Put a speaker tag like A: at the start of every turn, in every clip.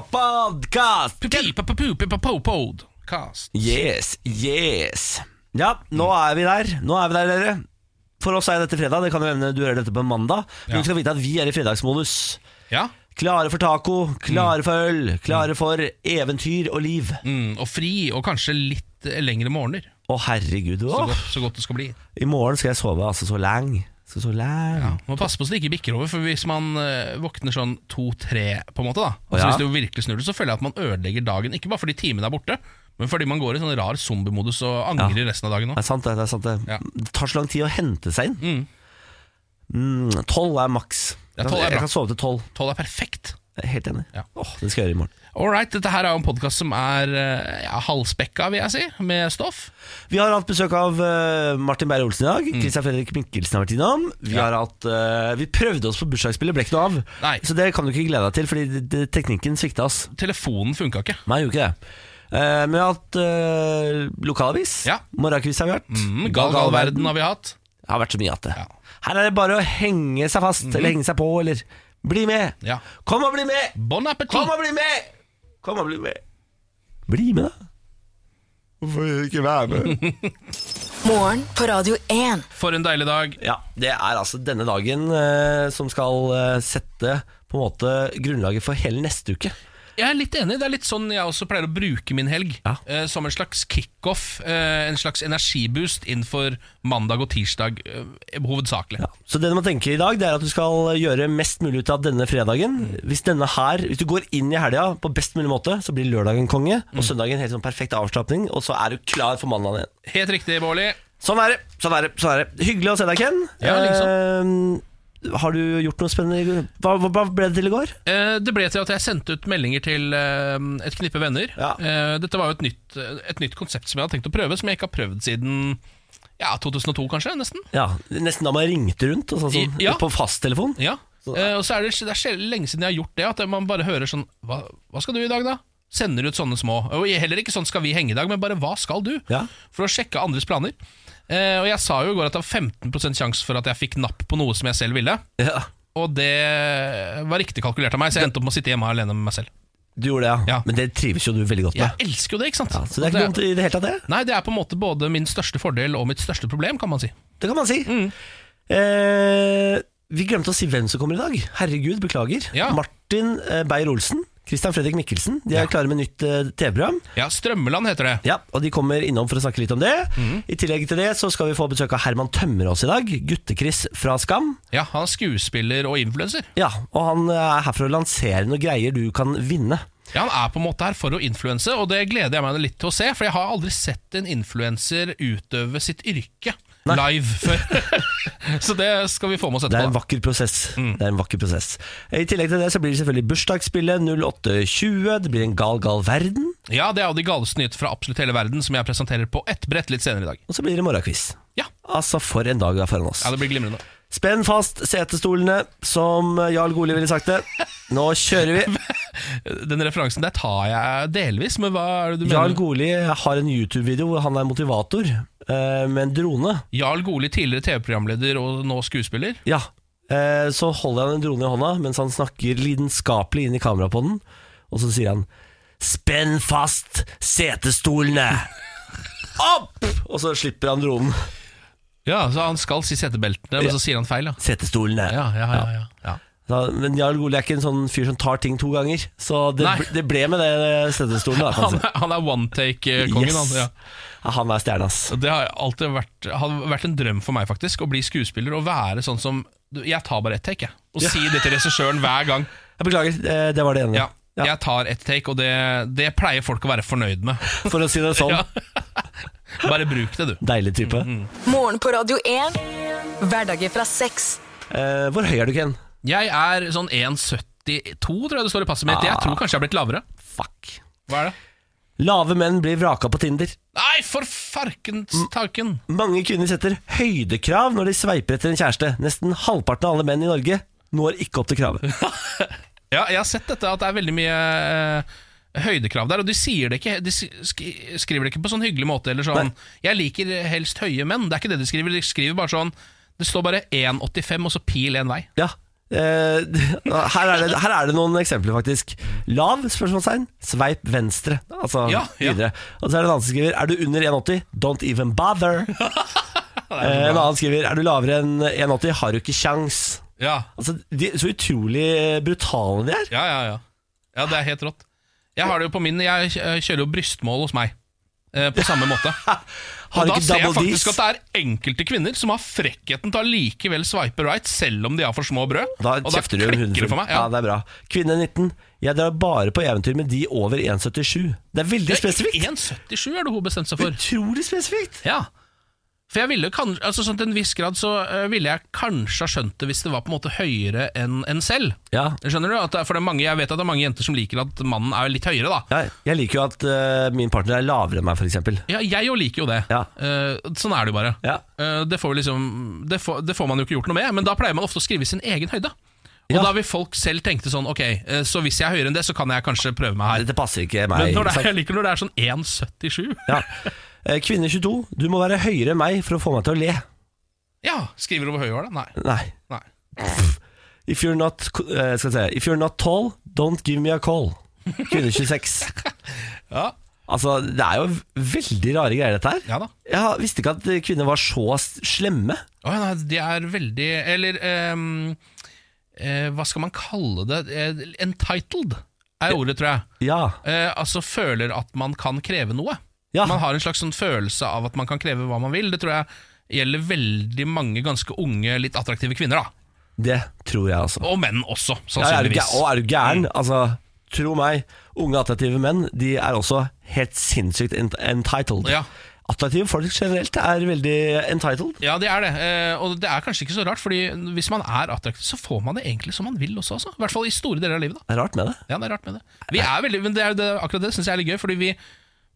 A: Podcast!
B: Podcast.
A: Yes, yes. Ja, nå er vi der. Nå er vi der, dere. For oss er dette fredag. Det kan jo hende du hører dette på mandag. Men
B: Ja.
A: du skal vite at vi er i fredagsmodus.
B: Ja.
A: Klare for taco, klare for øl, klare for eventyr og liv.
B: Mm, og fri, og kanskje litt eh, lengre morgener.
A: Å, herregud.
B: Så,
A: Åh.
B: godt, så godt det skal bli.
A: I morgen skal jeg sove altså så lenge. Så, så lenge.
B: Ja. Må passe på så det ikke bikker over, for hvis man eh, våkner sånn to-tre, på en måte, da
A: Å,
B: Så
A: ja.
B: hvis det jo virkelig snur det, så føler jeg at man ødelegger dagen. Ikke bare fordi timen er borte, men fordi man går i sånn rar zombiemodus og angrer resten av dagen
A: Det
B: òg.
A: er sant, det. det, er sant, det.
B: Ja.
A: det tar så lang tid å hente seg inn. Mm, Tolv er maks.
B: Ja, 12 er
A: jeg
B: bra.
A: kan sove til tolv.
B: Tolv er perfekt.
A: Jeg er Helt enig.
B: Ja.
A: Åh, det skal jeg gjøre i morgen.
B: Alright, dette her er jo en podkast som er eh, ja, halvspekka, vil jeg si, med stoff.
A: Vi har hatt besøk av eh, Martin Beyer-Olsen i dag. Christian Fredrik Mikkelsen har vært innom. Vi,
B: Mm. Ja.
A: har hatt, eh, vi prøvde oss på bursdagsspillet, ble ikke noe av.
B: Nei.
A: Så det kan du ikke glede deg til, fordi det- det- teknikken svikta oss.
B: Telefonen funka ikke.
A: Nei, gjorde ikke det. Eh, men vi har hatt eh, lokalavis.
B: Ja.
A: Morgenquiz har vi hatt.
B: Mm, gal, gal verden har vi hatt.
A: Det har vært så mye at det.
B: Ja. Mm.
A: Her er det bare å henge seg fast, eller henge seg på, eller bli med.
B: Ja.
A: Kom og bli med!
B: Bon
A: Kom
B: appétit!
A: og bli med! Kom og bli med. Bli med, da. Hvorfor ikke være med?
C: Morgen på Radio 1.
B: For en deilig dag.
A: ja, Det er altså denne dagen eh, som skal eh, sette på en måte grunnlaget for hele neste uke.
B: Jeg er litt enig. Det er litt sånn jeg også pleier å bruke min helg.
A: Ja.
B: Eh, som en slags kickoff, eh, en slags energiboost innenfor mandag og tirsdag, eh, hovedsakelig.
A: Ja. Så det du må tenke i dag, det er at du skal gjøre mest mulig ut av denne fredagen. Hvis denne her, hvis du går inn i helga på best mulig måte, så blir lørdagen konge, og søndagen helt sånn perfekt avslapning, og så er du klar for mandagen igjen.
B: Helt riktig, Bårli.
A: Sånn er det. sånn er det, sånn er det Hyggelig å se deg, Ken.
B: Ja,
A: Eh, har du gjort noe spennende? i går? Hva, hva hva ble det til i går?
B: Eh, det ble til at jeg sendte ut meldinger til eh, et knippe venner.
A: Ja.
B: Eh, dette var jo et nytt, et nytt konsept som jeg hadde tenkt å prøve, som jeg ikke har prøvd siden ja, 2002, kanskje. Nesten.
A: Ja, Nesten da man ringte rundt og sånn, sånn,
B: I- ja.
A: på fasttelefon.
B: Ja,
A: Så-
B: eh, og så er det, det er sjel- lenge siden jeg har gjort det At man bare hører sånn Hva, hva skal du i dag da? Sender ut sånne små Og heller ikke sånn skal vi henge i dag Men bare hva skal du?
A: Ja.
B: For å sjekke andres planer eh, Og jeg sa jo i går at det var 15% sjanse for at jeg fikk napp på noe som jeg selv ville
A: Ja.
B: Og det var riktig kalkulert av meg Så jeg endte opp med å sitte hjemme alene med meg selv
A: Du gjorde det, ja.
B: Ja.
A: Men det trives jo du veldig godt med.
B: Jeg elsker jo det, ikke sant?
A: Så det er ikke dumt i det hele tatt, det.
B: Nei, det er på en måte både min største fordel og mitt største problem, kan man si
A: Det kan man si. Eh, vi glemte å si hvem som kommer i dag. Herregud, beklager.
B: Ja.
A: Martin eh, Beyer-Olsen. Christian Fredrik Mikkelsen. De er klare med nytt eh, TV-program.
B: Ja, Strømmeland heter det
A: Ja, og de kommer innom for å snakke litt om det. I tillegg til det så skal vi få besøk av Herman Tømmerås i dag. Gutte-Chris fra Skam.
B: Ja, han er skuespiller og influencer
A: Ja, og han er her for å lansere noen greier du kan vinne.
B: Ja, Han er på en måte her for å influense, og det gleder jeg meg litt til å se. For jeg har aldri sett en influenser utøve sitt yrke live før. så det skal vi få med
A: Det
B: oss
A: er en
B: etterpå.
A: vakker prosess.
B: Mm.
A: Det er en vakker prosess. I tillegg til det så blir det selvfølgelig bursdagsspillet 08.20. Det blir en gal, gal verden.
B: Ja, Det er jo de galeste nyheter fra absolutt hele verden som jeg presenterer på ett brett litt senere i dag.
A: Og så blir det morgenquiz.
B: Ja,
A: Altså, for en dag vi har foran oss.
B: ja det blir glimrende.
A: Spenn fast setestolene, som Jarl Goli ville sagt det. Nå kjører vi.
B: Den referansen der tar jeg delvis, men hva er det du
A: Jarl
B: mener?
A: Goli har en YouTube-video hvor han er motivator eh, med en drone.
B: Jarl Goli, tidligere TV-programleder og nå skuespiller.
A: Ja, eh, så holder han en drone i hånda mens han snakker lidenskapelig inn i kameraet på den, og så sier han Spenn fast setestolene! Opp! Og så slipper han dronen.
B: Ja, så Han skal si setebeltene, men
A: Ja.
B: så sier han feil, ja.
A: Setestolene.
B: Ja, ja, ja, ja, ja.
A: Da, men Jarl Goli er ikke en sånn fyr som tar ting to ganger, så det,
B: Nei.
A: det ble med det setestolen. Da, kan
B: Han,
A: man si.
B: er, han er one take-kongen.
A: Yes.
B: han, Ja.
A: Ja, han er stjerne, ass.
B: Og Det har alltid vært, har vært en drøm for meg faktisk Å bli skuespiller og være sånn som du, Jeg tar bare ett take jeg, Og si det til regissøren hver gang
A: Jeg beklager, eh, det var det ene.
B: ja, Jeg tar ett take Og det, det pleier folk å være fornøyd med
A: For å si det sånn.
B: Ja. Mm-hmm. Bare bruk det du
A: Deilig type.
C: Morgen på Radio 1. Hverdager fra seks.
A: Eh, hvor høy er du, Ken?
B: Jeg er sånn 1,72 tror jeg det står i passet mitt Jeg tror kanskje jeg har blitt lavere
A: Fuck.
B: Hva er det?
A: Lave menn blir vraka på Tinder.
B: Nei, for farkens taken
A: Mange kvinner setter høydekrav når de sveiper etter en kjæreste. Nesten halvparten av alle menn i Norge når ikke opp til kravet.
B: Ja, jeg har sett dette at det er veldig mye eh, høydekrav der, og de sier det ikke De si- skri- skriver det ikke på sånn hyggelig måte eller sånn Jeg liker helst høye menn. Det er ikke det de skriver. De skriver bare sånn Det står bare 1,85 og så pil én vei.
A: Ja, Eh, her, er det, her er det noen eksempler, faktisk. Lav? spørsmålstegn Sveip venstre. Altså
B: Ja, ja.
A: videre. Og så er det en annen som skriver Er du under 1,80? Don't even bother. Eh, en annen skriver Er du lavere enn 1,80? Har du ikke kjangs?
B: Ja,
A: Altså, de, så utrolig brutale de er.
B: ja, ja, ja. ja det er helt rått. Jeg har det jo på min Jeg eh, kjører jo brystmål hos meg. eh, På samme måte.
A: Har
B: Og
A: du
B: da
A: ikke
B: ser jeg
A: double
B: faktisk
A: D's?
B: at det er enkelte kvinner som har frekkheten til å likevel sveipe right, selv om de har for små brød.
A: Da
B: og da
A: kjefter du om
B: klikker det
A: hundefugl.
B: for meg.
A: Ja.
B: Ja.
A: det er bra. Kvinne 19. Jeg drar bare på eventyr med de over 1,77. Det er veldig spesifikt.
B: 1,77 er det hun bestemte seg for.
A: Utrolig spesifikt.
B: Ja For jeg ville kan, altså sånn til en viss grad så eh, ville jeg kanskje ha skjønt det hvis det var på en måte høyere enn enn selv.
A: Ja.
B: Skjønner du? At det, er- for det er mange, jeg vet at det er mange jenter som liker at mannen er litt høyere, da.
A: Ja, jeg liker jo at eh, min partner er lavere enn meg, f.eks.
B: Ja, jeg jo liker jo det.
A: Ja.
B: Eh, sånn er det jo bare.
A: Ja.
B: Eh, det, får vi liksom, det, får, det får man jo ikke gjort noe med, men da pleier man ofte å skrive sin egen høyde. Og
A: Ja.
B: da vil folk selv tenke sånn Ok, eh, så hvis jeg er høyere enn det, så kan jeg kanskje prøve meg her.
A: Dette passer ikke meg.
B: Men når
A: ikke
B: det er,
A: sant?
B: jeg liker når det er sånn 1,77.
A: Ja. Eh, Kvinne 22, du må være høyere enn meg for å få meg til å le.
B: Ja, skriver du hvor høy du er, da? Nei.
A: Nei.
B: Nei.
A: If you're not, eh, skal jeg si, if you're not tall, don't give me a call. Kvinne 26.
B: Ja,
A: Altså, det er jo veldig rare greier, dette her.
B: ja da.
A: Jeg visste ikke at kvinner var så s- slemme.
B: Å, ja, nei, de er veldig Eller ehm, eh, hva skal man kalle det? Eh, Entitled er ordet, tror jeg.
A: Ja.
B: Eh, altså føler at man kan kreve noe.
A: Ja.
B: Man har en slags sånn følelse av at man kan kreve hva man vil. Det tror jeg gjelder veldig mange ganske unge, litt attraktive kvinner. da
A: Det tror jeg, altså.
B: Og menn også,
A: Ja, er, du
B: sannsynligvis.
A: gæ- og er du gæren?
B: Mm.
A: Altså, tro meg, unge attraktive menn De er også helt sinnssykt ent entitled.
B: Ja.
A: Attraktive folk generelt er veldig entitled.
B: Ja, det er det. Eh, og det er kanskje ikke så rart, Fordi hvis man er attraktiv, så får man det egentlig som man vil også. Altså. I hvert fall i store deler av livet.
A: Det
B: da
A: er rart med det.
B: Ja, det er rart med det. Vi er veldig, men det er jo det, akkurat det syns jeg er litt gøy, fordi vi,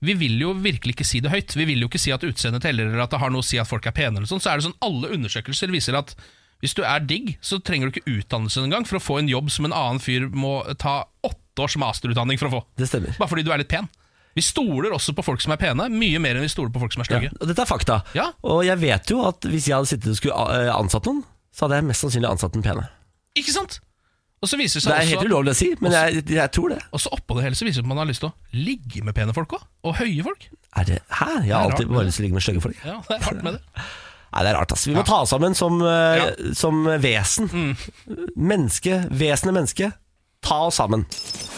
B: vi vil jo virkelig ikke si det høyt. Vi vil jo ikke si at utseendet teller, eller at det har noe å si at folk er pene. eller sånn. Så er det sånn, Alle undersøkelser viser at hvis du er digg, så trenger du ikke utdannelse engang for å få en jobb som en annen fyr må ta åtte års masterutdanning for å få.
A: Det stemmer.
B: Bare fordi du er litt pen. Vi stoler også på folk som er pene, mye mer enn vi stoler på folk som er stygge.
A: Ja, og dette er fakta.
B: Ja.
A: Og jeg vet jo at hvis jeg hadde sittet og skulle eh, ansatt noen, så hadde jeg mest sannsynlig ansatt den pene.
B: Ikke sant? Og så viser
A: Det
B: det seg
A: er helt
B: også at-
A: ulovlig å si, men jeg, jeg tror det.
B: og så oppå det hele så viser det at man har lyst til å ligge med pene folk òg. Og høye folk.
A: Er det Hæ? Jeg
B: Det
A: har
B: er rart
A: alltid
B: med
A: bare
B: det.
A: lyst til å ligge med stygge folk.
B: Ja, det er rart med det.
A: Nei, det er rart, ass. Vi må ta oss sammen som, eh,
B: Ja. Mm.
A: som vesen. Menneske, vesenet menneske. Ta oss sammen.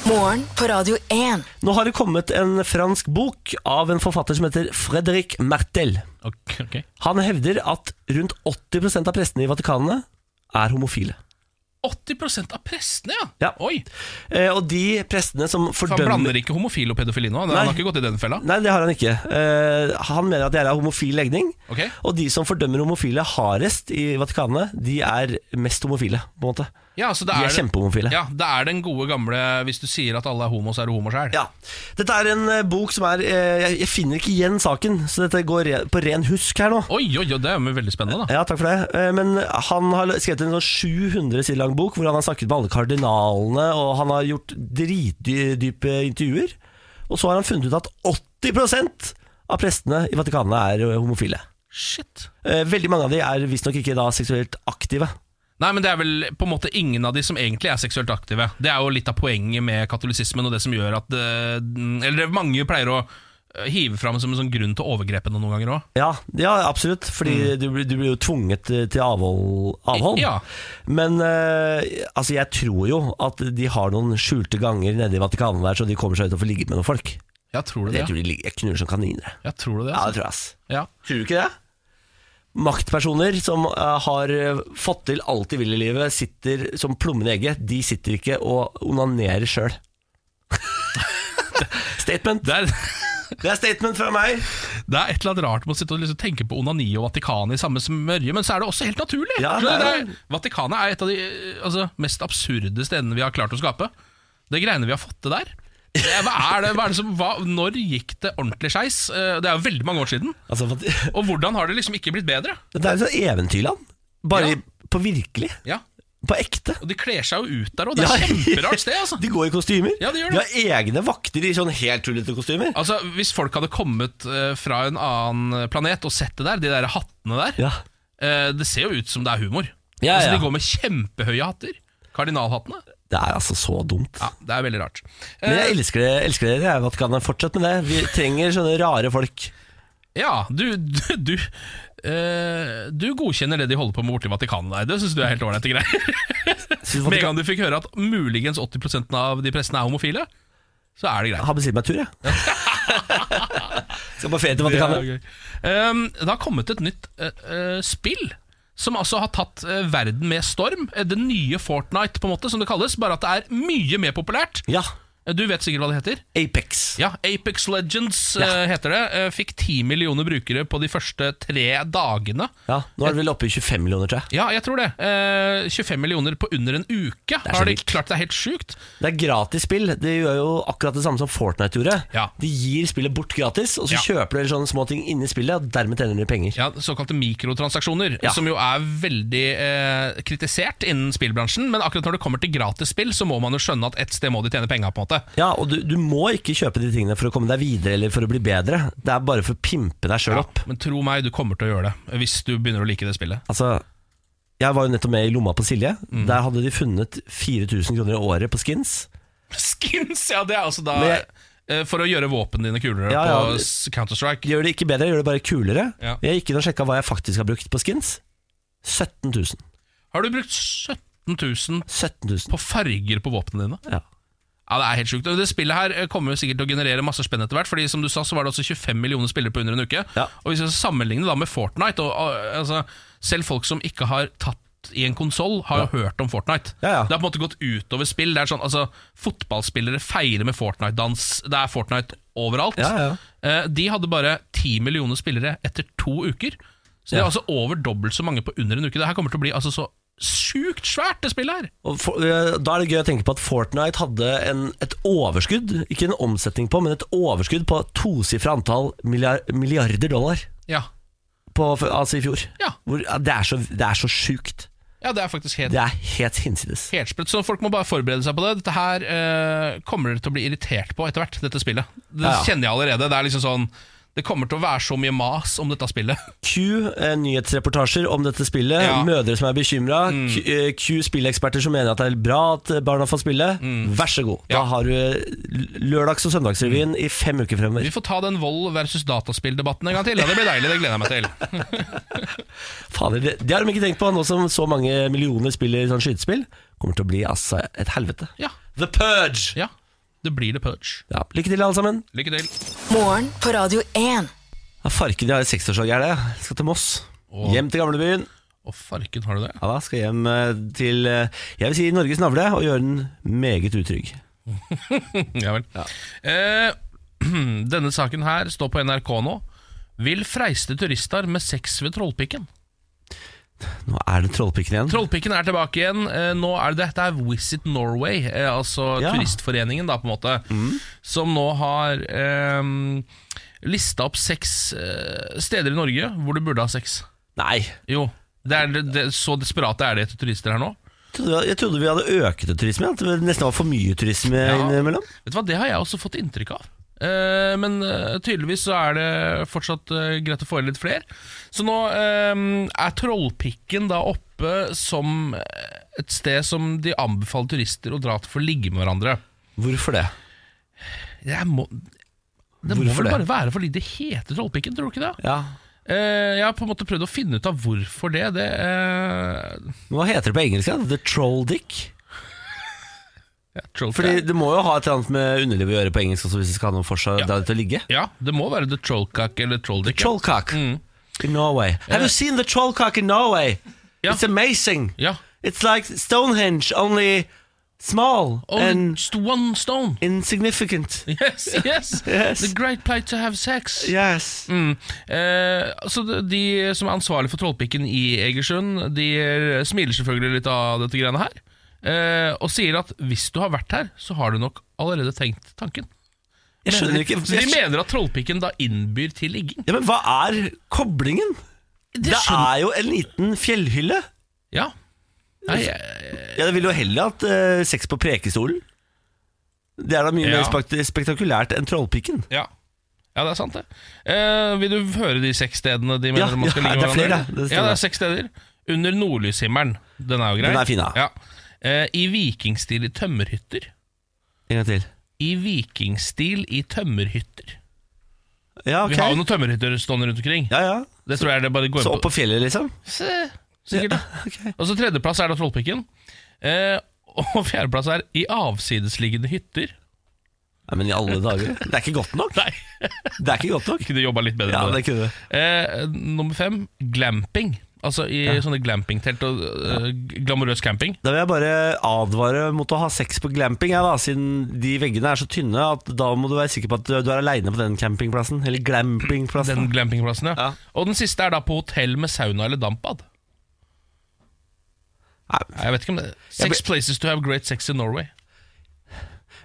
C: Morgen på Radio 1.
A: Nå har det kommet en fransk bok av en forfatter som heter Fredrik Mertel.
B: Ok, ok.
A: Han hevder at rundt 80 av prestene i Vatikanene er homofile.
B: 80 av prestene, ja!
A: Ja.
B: Oi,
A: Eh, og de prestene som
B: for Han
A: fordømmer
B: blander ikke homofil og pedofili nå?
A: Nei.
B: Han har ikke gått i den fella?
A: Nei, det har han ikke. Eh, han mener at de er av homofil legning.
B: Ok.
A: Og de som fordømmer homofile hardest i Vatikanet, de er mest homofile, på en måte.
B: Ja, så det
A: De
B: er,
A: er kjempehomofile.
B: Ja, det er den gode gamle 'hvis du sier at alle er homo, så er du homo sjæl'.
A: Ja. Dette er en eh, bok som er eh, Jeg jeg finner ikke igjen saken, så dette går re på ren husk her nå.
B: Oi, oi, oi, det er jo veldig spennende, da.
A: Ja, takk for det. Eh, Men han har skrevet en sånn 700 sider lang bok hvor han har snakket med alle kardinalene, og han har gjort dritdype intervjuer. Og så har han funnet ut at 80 av prestene i Vatikanet er eh, homofile.
B: Shit.
A: Eh, Veldig mange av de er visstnok ikke da seksuelt aktive.
B: Nei, men det er vel på en måte ingen av de som egentlig er seksuelt aktive. Det er jo litt av poenget med katolisismen og det som gjør at eh, Eller det mange pleier å eh, hive fram som en sånn grunn til overgrepene noen ganger òg.
A: Ja, ja absolutt, fordi du, blir- du blir jo tvunget eh, til avhold. avhold.
B: Mm. Ja.
A: Men eh, altså, jeg tror jo at de har noen skjulte ganger nede i Vatikanet der, så de kommer seg ut og får ligget med noen folk.
B: Ja, tror du det?
A: Jeg tror de ligger, jeg knuller som kaniner.
B: Ja, tror du det?
A: Ja, det
B: Altså?
A: tror jeg, ass.
B: Ja.
A: Tror du ikke det? Maktpersoner som eh, har eh, fått til alt de vil i livet, sitter som plommen i egget. De sitter ikke og onanerer sjøl. statement.
B: Det er
A: Det er statement fra meg.
B: Det er et eller annet rart med å sitte og liksom tenke på onani og Vatikanet i samme smørje, men så er det også helt naturlig.
A: Ja,
B: Skjønner du?
A: det
B: det
A: er-
B: er, Vatikanet er et av de eh, altså, mest absurde stedene vi har klart å skape. Det greiene vi har fått til der. Det er- Hva er det, hva er det som, hva, når gikk det ordentlig skeis? Eh, Det er jo veldig mange år siden.
A: Altså, det
B: Og hvordan har det liksom ikke blitt bedre?
A: er jo sånn eventyrland. Bare
B: Ja.
A: i- på virkelig.
B: Ja,
A: På ekte.
B: Og de kler seg jo ut der òg. Det er
A: Ja.
B: et kjemperart sted, altså.
A: De går i kostymer.
B: Ja, de gjør
A: har egne vakter i sånn helt tullete kostymer.
B: Altså, Hvis folk hadde kommet eh, fra en annen planet og sett det der, de der hattene der
A: Ja.
B: eh, Det ser jo ut som det er humor.
A: Ja,
B: altså,
A: ja.
B: De går med kjempehøye hatter. Kardinalhattene?
A: Det er altså så dumt.
B: Ja, det er veldig rart.
A: Men
B: Eh,
A: jeg elsker det, elsker det, jeg vet ikke annet. Fortsett med det. Vi trenger sånne rare folk.
B: Ja, du Du, du, eh, du godkjenner det de holder på med borti Vatikanet der. Det syns du er helt ålreite greier.
A: Synes
B: Med en
A: Vatikan-
B: gang du fikk høre at muligens 80 av de prestene er homofile, så er det greit.
A: Jeg har bestilt meg tur, jeg. Skal på ferie til Vatikanet.
B: Det er gøy. Um, det har kommet et nytt eh, eh, spill som altså har tatt eh, verden med storm. Eh, Det nye Fortnite, på en måte, som det kalles. Bare at det er mye mer populært.
A: Ja.
B: Eh, Du vet sikkert hva det heter.
A: Apex.
B: Ja, Apex Legends eh, heter det. Eh, Fikk 10 millioner brukere på de første tre dagene.
A: Ja, Nå er det vel oppe i 25 millioner, tror jeg.
B: Ja, jeg tror det. Eh, 25 millioner på under en uke.
A: så
B: Har de
A: vilt.
B: klart det er helt sjukt?
A: Det er gratis spill. Det gjør jo akkurat det samme som Fortnite gjorde.
B: Ja.
A: De gir spillet bort gratis, og så
B: Ja.
A: kjøper dere sånne små ting inni spillet, og dermed tjener dere penger.
B: Ja, Såkalte mikrotransaksjoner,
A: Ja.
B: som jo er veldig eh, kritisert innen spillbransjen. Men akkurat når det kommer til gratisspill, så må man jo skjønne at et sted må de tjene penger. på en måte
A: Ja, og du, du må ikke kjøpe de tingene for å komme deg videre eller for å bli bedre. Det er bare for å pimpe deg sjøl opp.
B: Men tro meg, du kommer til å gjøre det hvis du begynner å like det spillet.
A: Altså, jeg var jo nettopp med i lomma på Silje.
B: Mm.
A: Der hadde de funnet 4000 kroner i året på skins.
B: Skins, ja! Det er altså da
A: Men jeg-
B: eh, For å gjøre våpnene dine kulere
A: Ja, ja,
B: på
A: men-
B: s- Counter-Strike.
A: De gjør det ikke bedre, de gjør det bare kulere.
B: Ja.
A: Jeg gikk inn og sjekka hva jeg faktisk har brukt på skins. 17 000.
B: Har du brukt 17 000
A: 17 000.
B: på farger på våpnene dine?
A: Ja.
B: Ja, Det er helt sjukt. Og Det spillet her eh, kommer jo sikkert til å generere masse spenn etter hvert. Fordi som du sa, så var det også 25 millioner spillere på under en uke.
A: Ja.
B: Og hvis vi skal sammenligne da med Fortnite og, og, altså, Selv folk som ikke har tatt i en konsoll, har jo hørt om Fortnite.
A: Ja, ja.
B: Det har på en måte gått utover spill. Det er sånn, altså, Fotballspillere feirer med Fortnite-dans. Det er Fortnite overalt.
A: Ja, ja.
B: Eh, De hadde bare 10 millioner spillere etter to uker. Så det er
A: Ja.
B: altså over dobbelt så mange på under en uke. Det her kommer til å bli altså så sjukt svært, det spillet her.
A: Og for, eh, da er det gøy å tenke på at Fortnite hadde en, et overskudd, ikke en omsetning på, men et overskudd på tosifra antall milliard, milliarder dollar
B: Ja,
A: på, altså i fjor.
B: ja.
A: Hvor, ja, det, er så, det er så sjukt.
B: ja det er faktisk helt
A: Det er helt hinsides.
B: Helt sprøtt, så folk må bare forberede seg på det. Dette her eh, kommer dere til å bli irritert på etter hvert, dette spillet. Det
A: Ja, ja.
B: kjenner jeg allerede. Det er liksom sånn Det kommer til å være så mye mas om dette spillet.
A: Q, eh, nyhetsreportasjer om dette spillet.
B: Ja. Mm.
A: Mødre som er bekymra. Q, eh, Q, spilleeksperter som mener at det er bra at barna får spille. Vær så god.
B: Mm. Ja. Mm.
A: Da har du eh, lørdags- og søndagsrevyen i fem uker
B: Vi
A: fremover.
B: får ta den vold versus dataspill-debatten en gang til. Ja, det blir deilig, det gleder jeg meg til.
A: Fader, det, det har de ikke tenkt på, nå som så mange millioner spiller sånn skytespill. Kommer til å bli altså et helvete.
B: Ja,
A: The Purge!
B: ja. Det blir The Purge.
A: Ja, lykke til, alle sammen.
B: Lykke til.
C: Morgen på Radio 1.
A: Ja, Farken, de har jo seksårsdag, er det. Jeg skal til Moss.
B: Åh.
A: Hjem til gamlebyen.
B: Å, farken, har du det?
A: Ja da, skal hjem eh, til eh, Jeg vil si Norges navle, og gjøre den meget utrygg.
B: Ja vel. Eh, denne saken her står på NRK nå. Vil freiste turister med sex ved Trollpikken.
A: Nå er det Trollpikken igjen.
B: Trollpikken er tilbake igjen. Eh, Nå er det, dette er Visit Norway, eh, altså
A: Ja.
B: turistforeningen, da, på en måte, som nå har eh, lista opp seks eh, steder i Norge hvor du burde ha sex.
A: Nei,
B: Jo, det er, det, så desperate er de etter turister her nå.
A: Jeg trodde- jeg trodde vi hadde økete turisme, at det nesten var for mye turisme
B: Ja.
A: innimellom.
B: Vet du hva, Det har jeg også fått inntrykk av. Eh, men eh, tydeligvis så er det fortsatt eh, greit å få inn litt flere. Så nå eh, er Trollpikken da oppe som eh, et sted som de anbefaler turister å dra til for å ligge med hverandre.
A: Hvorfor det?
B: Jeg må, det må
A: Hvorfor
B: vel
A: det?
B: bare være fordi det heter Trollpikken, tror du ikke det?
A: Ja.
B: Eh, jeg har på en måte prøvd å finne ut av hvorfor det. det eh,
A: Men Hva heter det på engelsk? da? The Troll Dick?
B: ja, troll-
A: Fordi det må jo ha et eller annet med underlivet å gjøre på engelsk også, hvis det skal ha noe for seg der ute å ligge.
B: ja, det må være The Trollcock eller Trolldick. ja. Mm.
A: Trollcock in Norway. Have you seen the trollcock in Norway?
B: Ja.
A: It's amazing.
B: Ja.
A: It's like Stonehenge, only small
B: Oh,
A: and
B: st- one stone.
A: insignificant.
B: Yes, yes.
A: Yes.
B: The great place to have sex.
A: Yes.
B: Mm. Eh, så de- de som er ansvarlig for Trollpikken i Egersund, de smiler selvfølgelig litt av dette greiene her. Eh, og sier at hvis du har vært her, så har du nok allerede tenkt tanken.
A: Jeg skjønner ikke
B: Så de
A: jeg skjø-
B: mener at trollpikken da innbyr til ligging?
A: ja, Men hva er koblingen? Det
B: skjønner-
A: er jo en liten fjellhylle.
B: Ja. Nei, jeg,
A: Ja, Jeg ville jo heller hatt eh, sex på Prekestolen. Det er da mye
B: Ja.
A: mer spekt spektakulært enn Trollpikken.
B: ja. ja, det er sant, det. Eh, vil du høre de seks stedene de mener
A: Ja,
B: man skal
A: ja,
B: ligge med
A: det er flere,
B: hverandre?
A: ja, det stemmer.
B: ja, det er seks steder. Under nordlyshimmelen. Den er jo grei.
A: Den er fin, da.
B: ja. Eh, I vikingstil i tømmerhytter.
A: En gang til.
B: I vikingstil i tømmerhytter.
A: Ja, ok.
B: Vi har jo noen tømmerhytter stående rundt omkring.
A: Ja, ja.
B: Det tror jeg det bare går
A: Så opp på fjellet, liksom?
B: Se, Sikkert. det.
A: Ok.
B: Og så tredjeplass er da Trollpikken. Eh, og fjerdeplass er i avsidesliggende hytter.
A: Nei, men i alle dager. Det er ikke godt nok.
B: Nei,
A: Det er ikke godt nok.
B: kunne jobba litt bedre
A: Ja,
B: med
A: det kunne du.
B: Eh, nummer fem, glamping. Altså i sånne glampingtelt og eh, glamorøs camping.
A: Da vil jeg bare advare mot å ha sex på glamping, jeg da, siden de veggene er så tynne at da må du være sikker på at du- du er aleine på den campingplassen. Eller glampingplassen.
B: Den glampingplassen, ja.
A: Ja.
B: Og den siste er da på hotell med sauna eller dampbad.
A: Nei,
B: Nei, Jeg vet ikke om det
A: Jeg
B: Sex places to have great sex in Norway.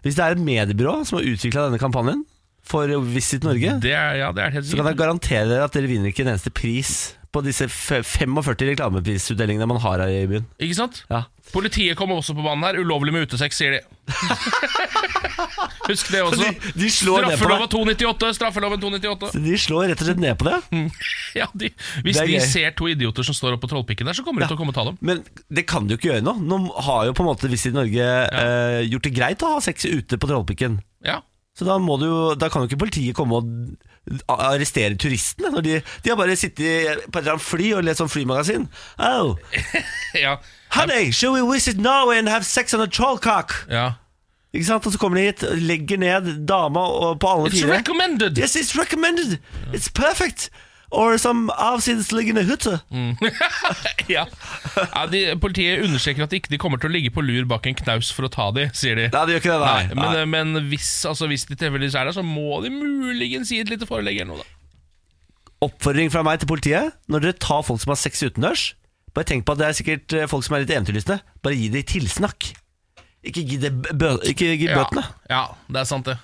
A: hvis det er et mediebyrå som har utvikla denne kampanjen for Visit Norge,
B: Det er, ja, det er helt
A: så kan jeg
B: sikkert.
A: garantere dere at dere vinner ikke en eneste pris på disse f- 45 reklameprisutdelingene man har her i byen.
B: Ikke sant?
A: Ja.
B: Politiet kommer også på banen her. Ulovlig med utesex, sier de. Husk det også.
A: De- de slår ned på
B: Straffeloven 298! Straffeloven 298
A: De slår rett og slett ned på det.
B: ja, de, Hvis
A: Mm. Det er
B: de
A: gøy.
B: ser to idioter som står oppe på trollpikken der, så kommer de til å komme og ta dem.
A: Men det kan du ikke gjøre nå. Nå har jo på en måte Visit Norge eh, gjort det greit å ha sex ute på Trollpikken.
B: Ja
A: Så da, må du, jo- da kan jo ikke politiet komme og a- arrestere turistene. Når de, de har bare sittet på et eller annet fly og lest sånn flymagasin. Oh,
B: Ja,
A: honey, should we visit Norway and have sex on a trollcock?
B: ja.
A: Ikke sant? Og så kommer de hit, legger ned dama og på alle
B: It's
A: fire.
B: recommended!
A: Yes, it's recommended! It's perfect! Or some avsidesliggende hytte.
B: Mm. Ja. Ja, de, politiet understreker at de ikke de kommer til å ligge på lur bak en knaus for å ta de, sier de.
A: Nei, det gjør ikke det, nei.
B: Nei, men, eh, men hvis, altså, hvis de tilfeldigvis er der, så må de muligens gi et lite forelegg eller noe, da.
A: oppfordring fra meg til politiet Når dere tar folk som har sex utendørs Bare tenk på at det er sikkert eh, folk som er litt eventyrlystne Bare gi dem tilsnakk Ikke gi, det b- bø ikke gi bøtene
B: Ja, ja, det er sant, det.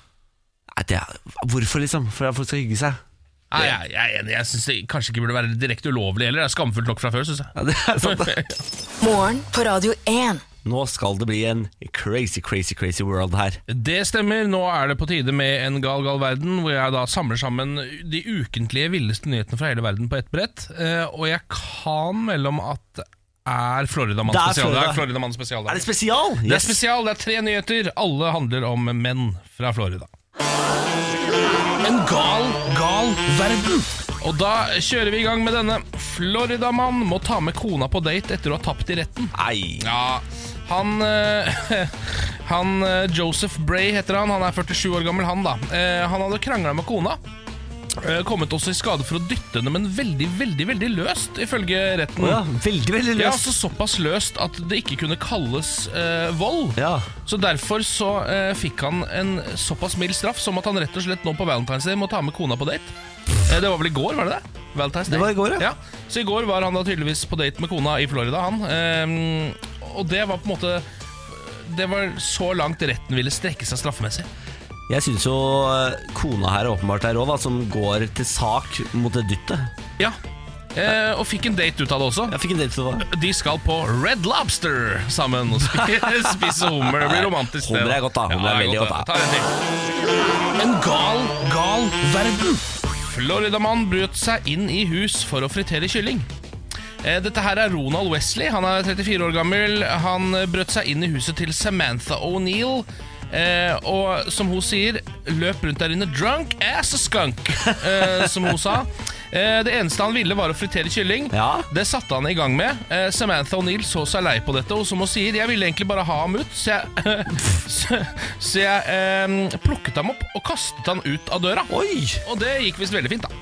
A: Nei, det er, Hvorfor liksom? For at folk skal hygge seg
B: Nei, jeg, jeg er enig. Jeg syns det kanskje ikke burde være direkte ulovlig heller. Det er skamfullt nok fra før, syns jeg.
A: ja, det er sant det.
C: Morgen på Radio 1.
A: Nå skal det bli en crazy, crazy, crazy world her
B: Det stemmer. Nå er det på tide med En gal gal verden, hvor jeg da samler sammen de ukentlige villeste nyhetene fra hele verden på ett brett. Eh, og jeg kan mellom at det er Floridamann
A: Det er
B: spesial. Det
A: Florida.
B: er Floridamann spesial.
A: Er det spesial?
B: Det er
A: Yes.
B: spesial, det er tre nyheter. Alle handler om menn fra Florida. En gal, gal verden. Og da kjører vi i gang med denne. Floridamann må ta med kona på date etter å ha tapt i retten.
A: Nei
B: Ja, han eh, Han eh, Joseph Bray heter han. Han er 47 år gammel, han da. Eh, han hadde krangla med kona. Eh, kommet også i skade for å dytte henne, men veldig, veldig veldig løst, ifølge retten.
A: Åja, veldig, veldig
B: Mm. Ja,
A: løst
B: altså Såpass løst at det ikke kunne kalles eh, vold.
A: Ja,
B: Så derfor så eh, fikk han en såpass mild straff som at han rett og slett nå på Valentine's Day må ta med kona på date. Eh, det var vel i går, var det det? Valentine's Day.
A: Det var i går, ja.
B: Så i går var han da tydeligvis på date med kona i Florida, han. Ehm, og det var på en måte Det var så langt retten ville strekke seg straffemessig.
A: jeg synes jo eh, kona her åpenbart er råd da, Som går til sak mot det dyttet
B: Ja. Eh, og fikk en date ut av det også.
A: Jeg fikk en date til det
B: De skal på Red Lobster sammen og spi- spise hummer. Det blir romantisk. det,
A: Hummer er godt, da. Hummer er
B: det
A: veldig godt, da.
B: Ta en til. En gal, gal verden. Floridamann brøt seg inn i hus for å fritere kylling. Eh, Dette her er Ronald Wesley. Han er 34 år gammel. Han eh, brøt seg inn i huset til Samantha O'Neill. Eh, og som hun sier, løp rundt der inne drunk as a skunk, eh, som hun sa. Eh, det eneste han ville, var å fritere kylling.
A: Ja.
B: Det satte han i gang med. Eh, Samantha O'Neill så seg lei på dette, og som hun sier, jeg ville egentlig bare ha ham ut, så jeg, så, så jeg eh, plukket ham opp og kastet han ut av døra.
A: Oi
B: Og det gikk visst veldig fint, da.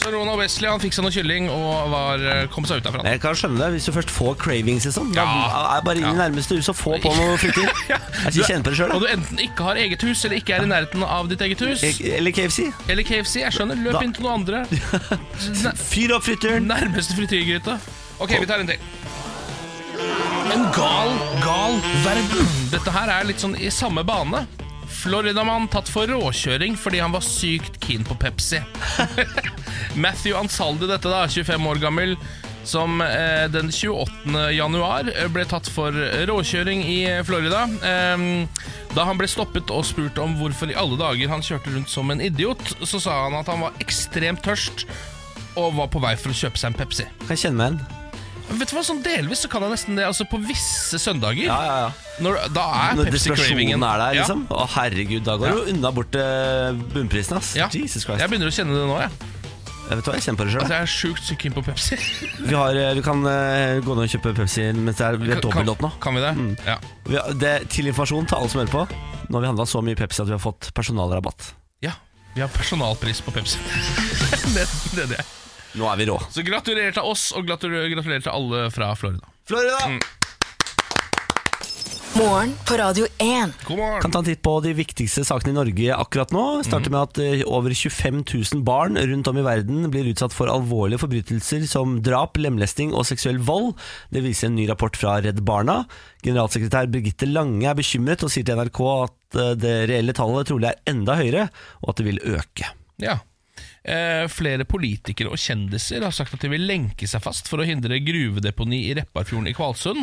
B: Så Ronald Wesley han fikk seg noe kylling og var, eh, kom seg ut derfra.
A: Jeg kan skjønne det hvis du først får cravings liksom. Da
B: Ja.
A: er bare inn i nærmeste hus og få på noe fritid. Jeg skal kjenne på det sjøl,
B: Og du enten ikke har eget hus, eller ikke er i nærheten av ditt eget hus.
A: Eh, Eller KFC.
B: Eller KFC. Jeg skjønner. Løp
A: Da-
B: inn til noen andre. Nær-
A: Fyr opp frityren.
B: Nærmeste frityrgryte. Ok, vi tar en til. En gal, gal verden. Dette her er litt sånn i samme bane. Floridamann tatt for råkjøring fordi han var sykt keen på Pepsi. Matthew Ansaldi, dette da, 25 år gammel, som eh, den 28. januar eh, ble tatt for råkjøring i eh, Florida. Ehm, da han ble stoppet og spurt om hvorfor i alle dager han kjørte rundt som en idiot, så sa han at han var ekstremt tørst og var på vei for å kjøpe seg en Pepsi.
A: Kan jeg kjenne meg igjen.
B: Vet du hva, sånn Delvis så kan jeg nesten det. Altså På visse søndager.
A: Ja, ja, ja.
B: Når, da er
A: Når
B: Pepsi
A: desperasjonen
B: cravingen
A: er der, liksom. Å, herregud, da går
B: Ja.
A: du unna bort til bunnprisen, ass.
B: Ja.
A: Jesus
B: Ja.
A: Christ.
B: Jeg begynner å kjenne det nå. Jeg,
A: Jeg vet hva, jeg kjenner på det sjøl.
B: altså, jeg er sjukt sykt keen på Pepsi. Kan-
A: Vi, har, eh, vi kan eh, gå ned og kjøpe Pepsi mens det er, vi er dobbelt opp nå. Mm.
B: Kan vi det? Ja.
A: Vi har, det, til informasjon til alle som hører på. Nå har vi handla så mye Pepsi at vi har fått personalrabatt.
B: ja. Vi har personalpris på Pepsi. det, det er det.
A: Nå er vi rå.
B: Så gratulerer til oss, og gratulerer, gratulerer til alle fra Florida.
A: Florida!
C: Morgen på Radio 1.
B: God morgen!
A: Kan ta en titt på de viktigste sakene i Norge akkurat nå. Starter med at eh, over 25 000 barn rundt om i verden blir utsatt for alvorlige forbrytelser som drap, lemlesting og seksuell vold. Det viser en ny rapport fra Redd Barna. Generalsekretær Birgitte Lange er bekymret og sier til NRK at eh, det reelle tallet trolig er enda høyere, og at det vil øke.
B: Ja. Eh, flere politikere og kjendiser har sagt at de vil lenke seg fast for å hindre gruvedeponi i Repparfjorden i Kvalsund.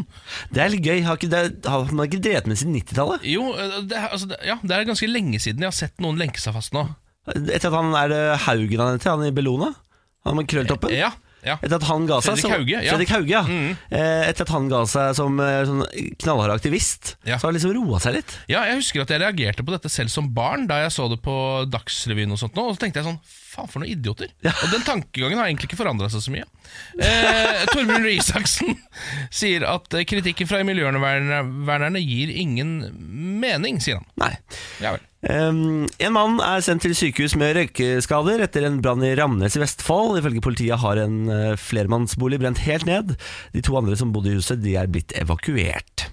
A: Det er litt gøy. Har, ikke, det, har man ikke drevet med siden 90-tallet?
B: Jo, eh, det, er- altså, det, ja, det er ganske lenge siden jeg har sett noen lenke seg fast nå.
A: Etter at han er det Haugen han heter, han i Bellona? Han med krølltoppen?
B: Eh, Ja, ja.
A: Etter at han ga seg
B: Fredrik
A: som-
B: Hauge, ja.
A: Fredrik Hauge, ja.
B: Mhm.
A: Eh, Etter at han ga seg som eh, sånn knallhard aktivist,
B: Ja.
A: så har han liksom roa seg litt.
B: Ja, jeg husker at jeg reagerte på dette selv som barn da jeg så det på Dagsrevyen og sånt nå, og så tenkte jeg sånn, faen for noen idioter. Og den tankegangen har egentlig ikke forandret seg så mye. Eh, Torbjørn Røe Isaksen sier at eh, kritikken fra miljøvernerne gir ingen mening, sier han.
A: Nei.
B: Ja vel.
A: Ehm, en mann er sendt til sykehus med røykeskader etter en brann i Ramnes i Vestfold. Ifølge politiet har en eh, flermannsbolig brent helt ned. De to andre som bodde i huset, de er blitt evakuert.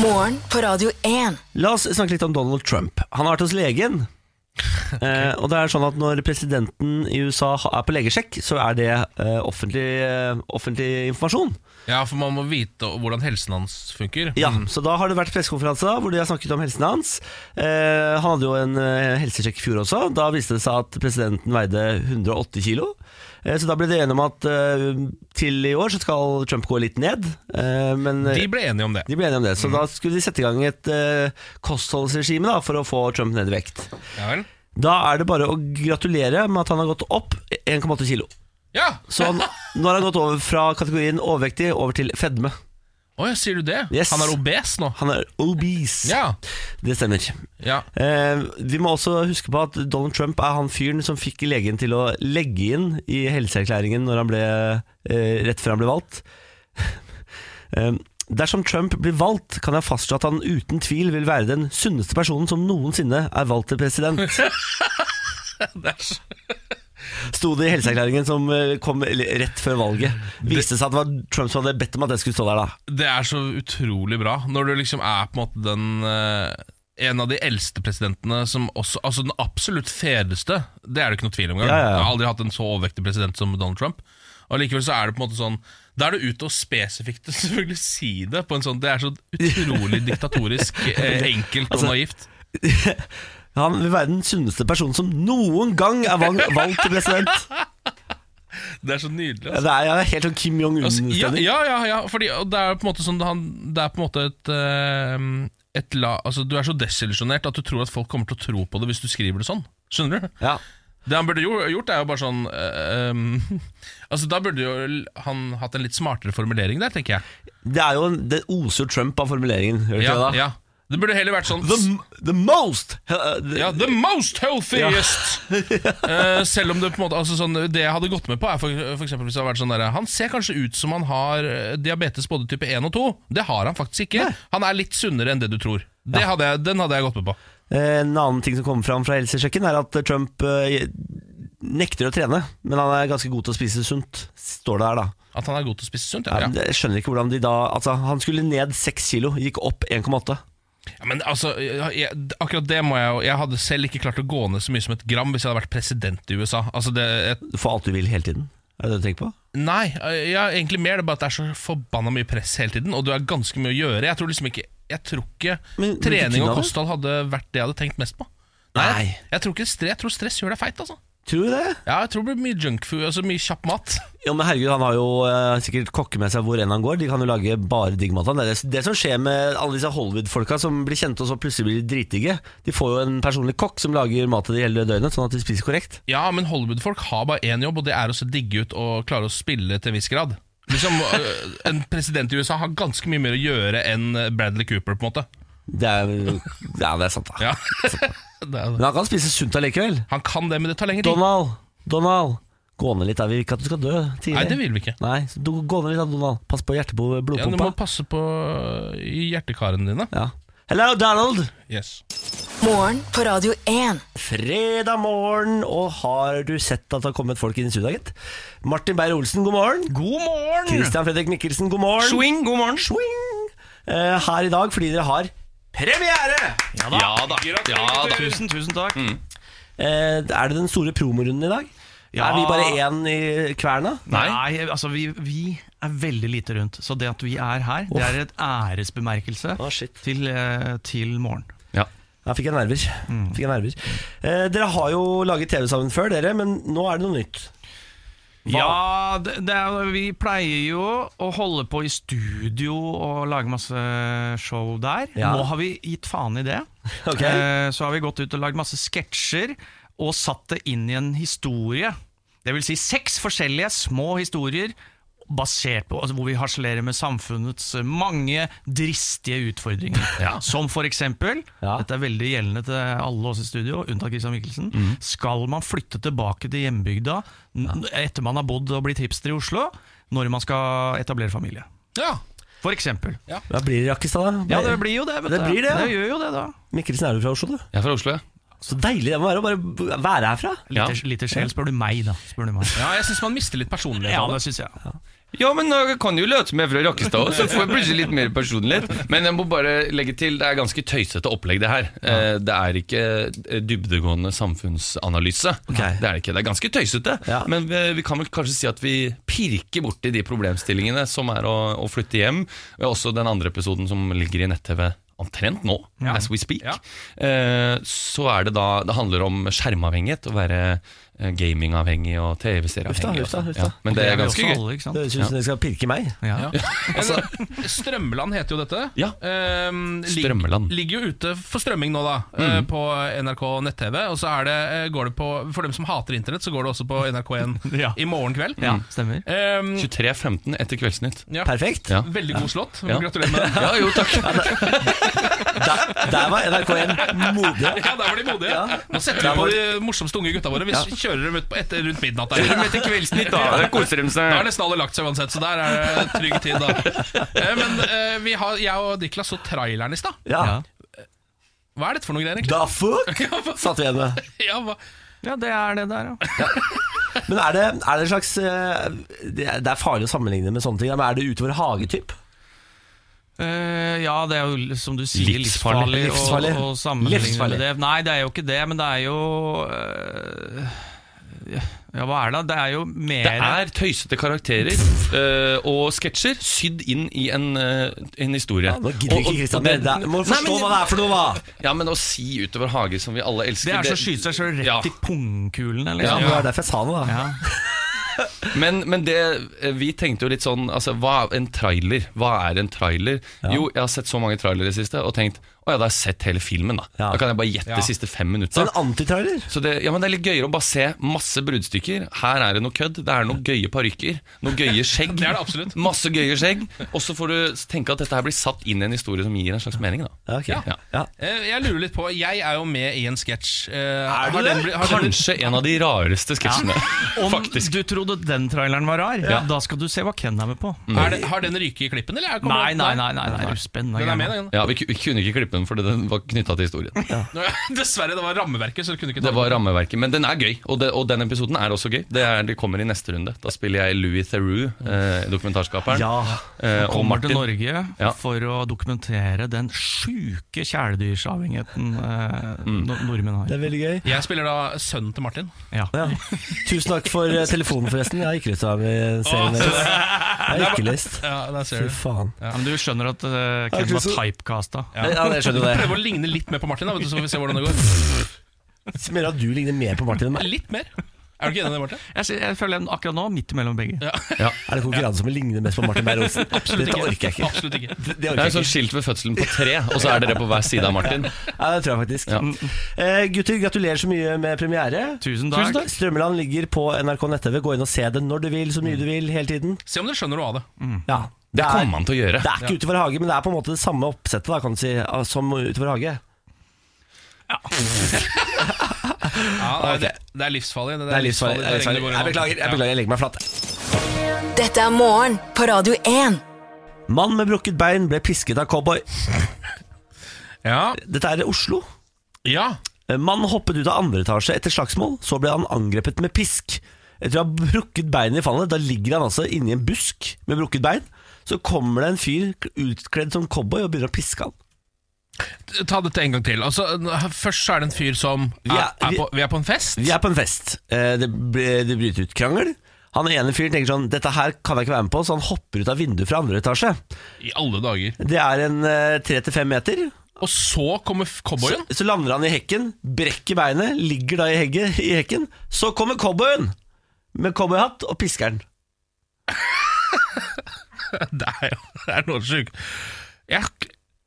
C: Morgen på Radio 1.
A: La oss snakke litt om Donald Trump. Han har vært hos legen. Eh, og det er sånn at Når presidenten i USA ha- er på legesjekk, så er det eh, offentlig, eh, offentlig informasjon.
B: Ja, for man må vite hvordan helsen hans funker. Mm.
A: Ja, Mm. så da har det vært pressekonferanse da, hvor de har snakket om helsen hans. Eh, han hadde jo en eh, helsesjekk i fjor også. Da viste det seg at presidenten veide 180 kilo. Eh, så da ble det enige om at eh, til i år så skal Trump gå litt ned. Eh, men eh,
B: De ble enige om det.
A: de ble enige om det, så da skulle de sette i gang et eh, kostholdsregime da, for å få Trump ned i vekt.
B: Ja vel.
A: Da er det bare å gratulere med at han har gått opp 1,8 kilo.
B: Ja!
A: Så han, nå har han gått over fra kategorien overvektig over til fedme.
B: Å, ja, sier du det?
A: Yes.
B: Han er obes nå.
A: Han er obese.
B: Ja.
A: Det stemmer.
B: ja.
A: Eh, vi må også huske på at Donald Trump er han fyren som fikk legen til å legge inn i helseerklæringen når han ble, eh, rett før han ble valgt. eh, dersom Trump blir valgt, kan jeg fastslå at han uten tvil vil være den sunneste personen som noensinne er valgt til president.
B: Det er så-
A: Sto det i helseerklæringen som eh, kom rett før valget. Viste seg at det var Trump som hadde bedt om at det skulle stå der, da.
B: Det er så utrolig bra Når du liksom er på en måte den eh, En av de eldste presidentene som også, Altså den absolutt fedeste Det er det ikke noe tvil om engang.
A: Ja, ja, ja.
B: Jeg har aldri hatt en så overvektig president som Donald Trump Og likevel så er det på en måte sånn Da er det ute og spesifikt Selvfølgelig si det på en sånn Det er så utrolig diktatorisk eh, Enkelt og
A: Altså-
B: naivt
A: Han vil være den sunneste personen som noen gang er valg, valgt til president.
B: Det er så nydelig altså.
A: Det er, jeg er helt sånn Kim
B: Altså, ja,
A: Jong-un-stemning.
B: ja, ja, ja fordi, og det er på en måte sånn han, Det er på en måte et, eh, et la, altså, Du er så desillusjonert at du tror at folk kommer til å tro på det hvis du skriver det sånn. Skjønner du?
A: Ja.
B: Det han burde jo, gjort, er jo bare sånn eh, em, Altså Da burde jo l- han hatt en litt smartere formulering der, tenker jeg.
A: Det er jo en, det oser jo Trump av formuleringen. Gjør det
B: Ja,
A: ikke det da?
B: ja. Det burde heller vært sånn
A: The, the most uh, the,
B: ja, The most healthiest! Eh, selv om det på en måte altså sånn, Det jeg hadde gått med på, er for, for eksempel hvis det hadde vært sånn der, Han ser kanskje ut som han har eh, diabetes både type 1 og 2. Det har han faktisk ikke. Han er litt sunnere enn det du tror. Det hadde jeg, den hadde jeg gått med på.
A: eh, En annen ting som kommer fram fra helsesjekken, er at Trump eh, nekter å trene. Men han er ganske god til å spise sunt, står det her, da.
B: At han er god til å spise sunt.
A: Ja,
B: Ja.
A: men Jeg skjønner ikke hvordan de da Altså, han skulle ned seks kilo, gikk opp 1,8.
B: Ja, men altså, jeg, akkurat det må jeg jo Jeg hadde selv ikke klart å gå ned så mye som et gram hvis jeg hadde vært president i USA. Altså det, jeg,
A: Du får alt du vil hele tiden. Er det det du tenker på?
B: nei, jeg, er egentlig mer det er bare at det er så forbanna mye press hele tiden, og du har ganske mye å gjøre. Jeg tror liksom ikke Jeg tror ikke
A: Men- men ikke
B: trening
A: kina
B: og
A: det?
B: kosthold hadde vært det jeg hadde tenkt mest på.
A: Nei.
B: Jeg, jeg tror ikke stre, jeg tror stress gjør deg feit, altså.
A: Tror du det?
B: Ja, jeg tror det blir mye junkfood, altså mye kjapp mat.
A: Jo, men herregud, Han har jo eh, sikkert kokke med seg hvor enn han går. De kan jo lage bare digg mat. av han. Det, er det, det som skjer med alle disse Hollywood-folka som blir kjente og så plutselig blir dritdigge. De får jo en personlig kokk som lager mat til de hele døgnet, sånn at de spiser korrekt.
B: Ja, men Hollywood-folk har bare én jobb, og det er å se digge ut og klare å spille til en viss grad. Liksom, øh, en president i USA har ganske mye mer å gjøre enn Bradley Cooper, på en måte.
A: Det er, ja, det er sant, da.
B: Ja. det er det.
A: Men han kan spise sunt allikevel.
B: Han kan det, men det tar lenger tid.
A: Donald, Donald. Gå ned litt, da. Vi vil ikke at du skal dø tidlig.
B: Nei, det vil vi ikke.
A: Nei, så du, gå ned litt da, Donald. Pass på hjertepo-
B: Ja, du må
A: blodpumpa.
B: passe på øh, hjertekarene dine.
A: Ja. Hello, Donald!
B: Yes.
C: Morgen på Radio 1.
A: Fredag morgen, og har du sett at det har kommet folk inn i studioet, gitt? Martin Beyer-Olsen, god morgen.
B: God morgen!
A: Christian Fredrik Mikkelsen, god morgen.
B: Swing, god morgen.
A: Swing. Eh, her i dag fordi dere har premiere!
D: Ja da. Ja da. Tusen, tusen takk.
A: Mm. Eh, er det den store promorunden i dag?
D: Ja.
A: Er vi bare én i kverna?
D: Nei, altså vi, vi er veldig lite rundt. Så det at vi er her, det er et æresbemerkelse
A: Å, shit.
D: til, eh, til morgen.
A: Da fikk jeg nerver. Fikk jeg nerver. Eh, dere har jo laget TV sammen før, dere, men nå er det noe nytt.
D: Ja, det, det er, vi pleier jo å holde på i studio og lage masse show der.
A: Ja.
D: Nå har vi gitt faen i det.
A: Ok.
D: Eh, Så har vi gått ut og lagd masse sketsjer og satt det inn i en historie. Det vil si seks forskjellige små historier basert på, altså hvor vi harselerer med samfunnets eh, mange dristige utfordringer. Som for eksempel,
A: Ja.
D: dette er veldig gjeldende til alle oss i studio, unntatt Christian Mikkelsen,
A: Mhm.
D: skal man flytte tilbake til hjembygda n- etter man har bodd og blitt hipster i Oslo, når man skal etablere familie?
B: Ja.
D: For eksempel.
A: Hva blir det i Rakkestad, da?
D: Ja, det blir jo det, vet
A: Det
D: du.
A: blir det, ja.
D: det gjør jo det, da.
A: Mikkelsen, er du fra Oslo, du?
E: Jeg er fra Oslo, ja.
A: Så deilig det må være å bare b- være herfra.
E: Ja.
D: Lite, lite sjel, spør du meg, da. Spør du meg.
B: ja, jeg syns man mister litt personlighet.
D: Ja,
B: av det.
D: det syns jeg.
E: Ja, men jeg kan jo late som jeg er fra Rakkestad òg, så får jeg plutselig litt mer personlighet. Men jeg må bare legge til, det er ganske tøysete opplegg, det her. Eh, Det er ikke eh, dybdegående samfunnsanalyse. Det er det ikke. Det er ganske tøysete.
A: Ja.
E: Men vi, vi kan vel kanskje si at vi pirker borti de problemstillingene som er å, å flytte hjem. Og også den andre episoden som ligger i nett-TV omtrent nå, as we speak.
B: Ja.
E: Eh, Så er det da Det handler om skjermavhengighet, å være eh, gamingavhengig og
A: Ufta,
E: TV-serieavhengig. og
A: ufta,
E: sånn.
A: ufta.
E: Ja, men det er ganske gøy.
D: Alle, ikke sant?
A: Det høres ut som dere skal pirke meg.
D: Ja.
B: Men, Strømmeland heter jo dette.
E: Ja.
B: Ehm, lig-
E: Strømmeland.
B: Ligger jo ute for strømming nå, da. eh, På NRK nett-TV. Og så er det, eh, går det på For dem som hater internett, så går det også på NRK1
D: Ja.
B: i morgen kveld.
E: Mm.
D: ja, stemmer.
B: Ehm,
E: 23.15 etter Kveldsnytt.
B: ja.
A: Perfekt.
E: Ja.
B: Veldig god slått.
E: Ja.
B: Gratulerer med det.
E: Ja, jo, takk.
A: Der, der var NRK1 modige.
B: Ja, der var de modige.
A: Ja.
B: Nå setter
A: Der var
B: vi på de morsomste unge gutta våre. Vi kjører dem ut på etter, rundt midnatt. Der.
E: Etter Kveldsnytt, da. Der koser de
B: Da har
E: seg.
B: nesten alle lagt seg uansett, så der er det trygg tid, da. Eh, Men eh, vi har, jeg og Dikla så traileren i stad.
A: Ja.
D: Ja.
B: Hva er dette for noe greier, egentlig?
A: Da fuck satt vi igjen med.
B: Ja, hva?
D: ja, det er det der, ja.
A: Men er det, er det en slags eh, Det er det er farlig å sammenligne med sånne ting. ja, Men er det utover hagetyp?
D: Eh, ja, det er jo som du sier, livsfarlig,
A: Livsfarlig. Livsfarlig.
D: å, å sammenligne
A: Livsfarlig.
D: med det. Nei, det er jo ikke det, men det er jo eh, Ja, hva er det? da? Det er jo mer
E: Det er tøysete karakterer eh, og sketsjer sydd inn i en, eh, en historie.
A: Nå gidder
E: Og-
A: ikke
E: og-
A: Kristian
E: og det-
A: Bredde. Må
E: Nei,
A: forstå
E: men-
A: hva det er for noe, hva!
E: Ja, men å si utover hage, som vi alle elsker
D: Det er så å skyte seg sjøl rett
E: Ja.
D: i pungkulen, eller?
A: Ja,
E: Ja.
A: det var derfor jeg sa noe, da.
D: Ja.
E: Men, men det, eh, vi tenkte jo litt sånn altså, Hva er en trailer? Hva er en trailer? Jo, jeg har sett så mange trailere i det siste og tenkt Å ja, da har jeg sett hele filmen, da.
A: Ja. Sånn, ah.
E: Da kan jeg bare gjette
B: Ja.
E: de siste fem
A: Så
E: minutta.
A: en antitrailer?
E: Så det, ja, men det er litt gøyere å bare se masse bruddstykker. Her er det noe kødd. Det er noen gøye parykker. Noen gøye skjegg.
B: Det er det absolutt.
E: Masse gøye skjegg. Og så får du tenke at dette her blir satt inn i en historie som gir en slags mening. da
A: Ja, ok.
B: Ja.
A: Ja.
B: Eh, Jeg lurer litt på, jeg er jo med i en sketsj. Eh, Er
A: du det?
E: Kanskje en av de rareste sketsjene.
D: Om
E: Faktisk.
D: du trodde den traileren var rar, da skal du se hva Ken er med på.
B: Er det, har den ryket i klippen, eller? er det kommet-
D: Nei, nei, nei, nei, nei, det er jo spennende.
B: Den er med,
D: greier.
B: den.
E: Ja, vi, ku- vi kunne ikke klippe den fordi den var knytta til historien.
B: Nå, Dessverre, det var rammeverket, så du kunne ikke ta
E: Det var rammeverket, men den er gøy. Og, det, og den episoden er også gøy. Det, er, det kommer i neste runde. Da spiller jeg Louis Theroux, eh, dokumentarskaperen.
A: Ja.
E: eh, og
D: Kommer til
E: Martin.
D: Norge
E: Ja.
D: for å dokumentere den sjuke kjæledyrsavhengigheten eh, no nordmenn
A: Det
D: har.
A: er veldig gøy.
B: Jeg spiller da sønnen til Martin.
D: Ja.
A: Ja. Tusen takk for eh, telefonen, forresten. Jeg har ikke lyst til å være med i serien deres. Jeg har ikke lyst.
B: Ja, der ser
A: Fy
B: du.
A: faen.
D: Ja, men du skjønner at eh, Ken
A: ikke
D: var
A: så-
D: typecasta.
A: Ja, det skjønner jo
B: Prøv å ligne litt mer på Martin, da, vet du, så får vi se hvordan det går.
A: det. Mer at du ligner mer på Martin enn meg.
B: Litt mer. Er Er du ikke enig i det, Martin?
D: Jeg, sy- jeg føler en akkurat nå midt mellom begge.
A: Er det konkurranse som ligner mest på Martin Beyer-Olsen? Dette orker jeg ikke.
B: Absolutt ikke.
A: Det, det
E: Det
A: orker
E: er
A: jeg
E: et sånt
A: ikke.
E: skilt ved fødselen på tre, og så er dere på hver side av Martin.
A: Ja, det tror jeg faktisk.
E: Ja.
A: Eh, gutter, gratulerer så mye med premiere.
D: Tusen takk.
A: Strømmeland ligger på NRK nett-TV. Gå inn og se det når du vil, så mye du vil, hele tiden.
B: Se om dere skjønner noe av det.
A: Ja,
E: Det
A: er-
E: kommer han til å gjøre.
A: Det er ikke utover hage, men det er på en måte det samme oppsettet da, kan du si, av- som utover hage.
B: Ja, det, er,
A: Ah, Ok.
B: det, det er livsfarlig. Det,
A: Det er livsfarlig. Jeg beklager, jeg beklager, jeg, beklager, jeg legger meg flat.
C: Dette er morgen på Radio 1.
A: Mann med brukket bein ble pisket av cowboy.
B: Ja.
A: Dette er Oslo.
B: ja.
A: Mann Eh, hoppet ut av andre etasje etter slagsmål, så ble han angrepet med pisk. Etter å ha brukket beinet i fallet, da ligger han altså inni en busk med brukket bein. Så kommer det en fyr utkledd som cowboy og begynner å piske han.
B: Ta dette en gang til. Altså, først så er det en fyr som er,
A: Vi er-
B: er, på, vi er på en fest.
A: Vi er på en fest. Eh, Det, ble- det bryter ut krangel. Han ene fyren tenker sånn Dette her kan jeg ikke være med på, så han hopper ut av vinduet fra andre etasje.
B: I alle dager.
A: Det er en eh, tre til fem meter.
B: Og så kommer f-
A: Så,
B: cowboyen.
A: så lander han i hekken, brekker beinet, ligger da i, hegge, i hekken. Så kommer cowboyen med cowboyhatt og pisker den.
B: Det er jo det er noe sjukt. Jeg,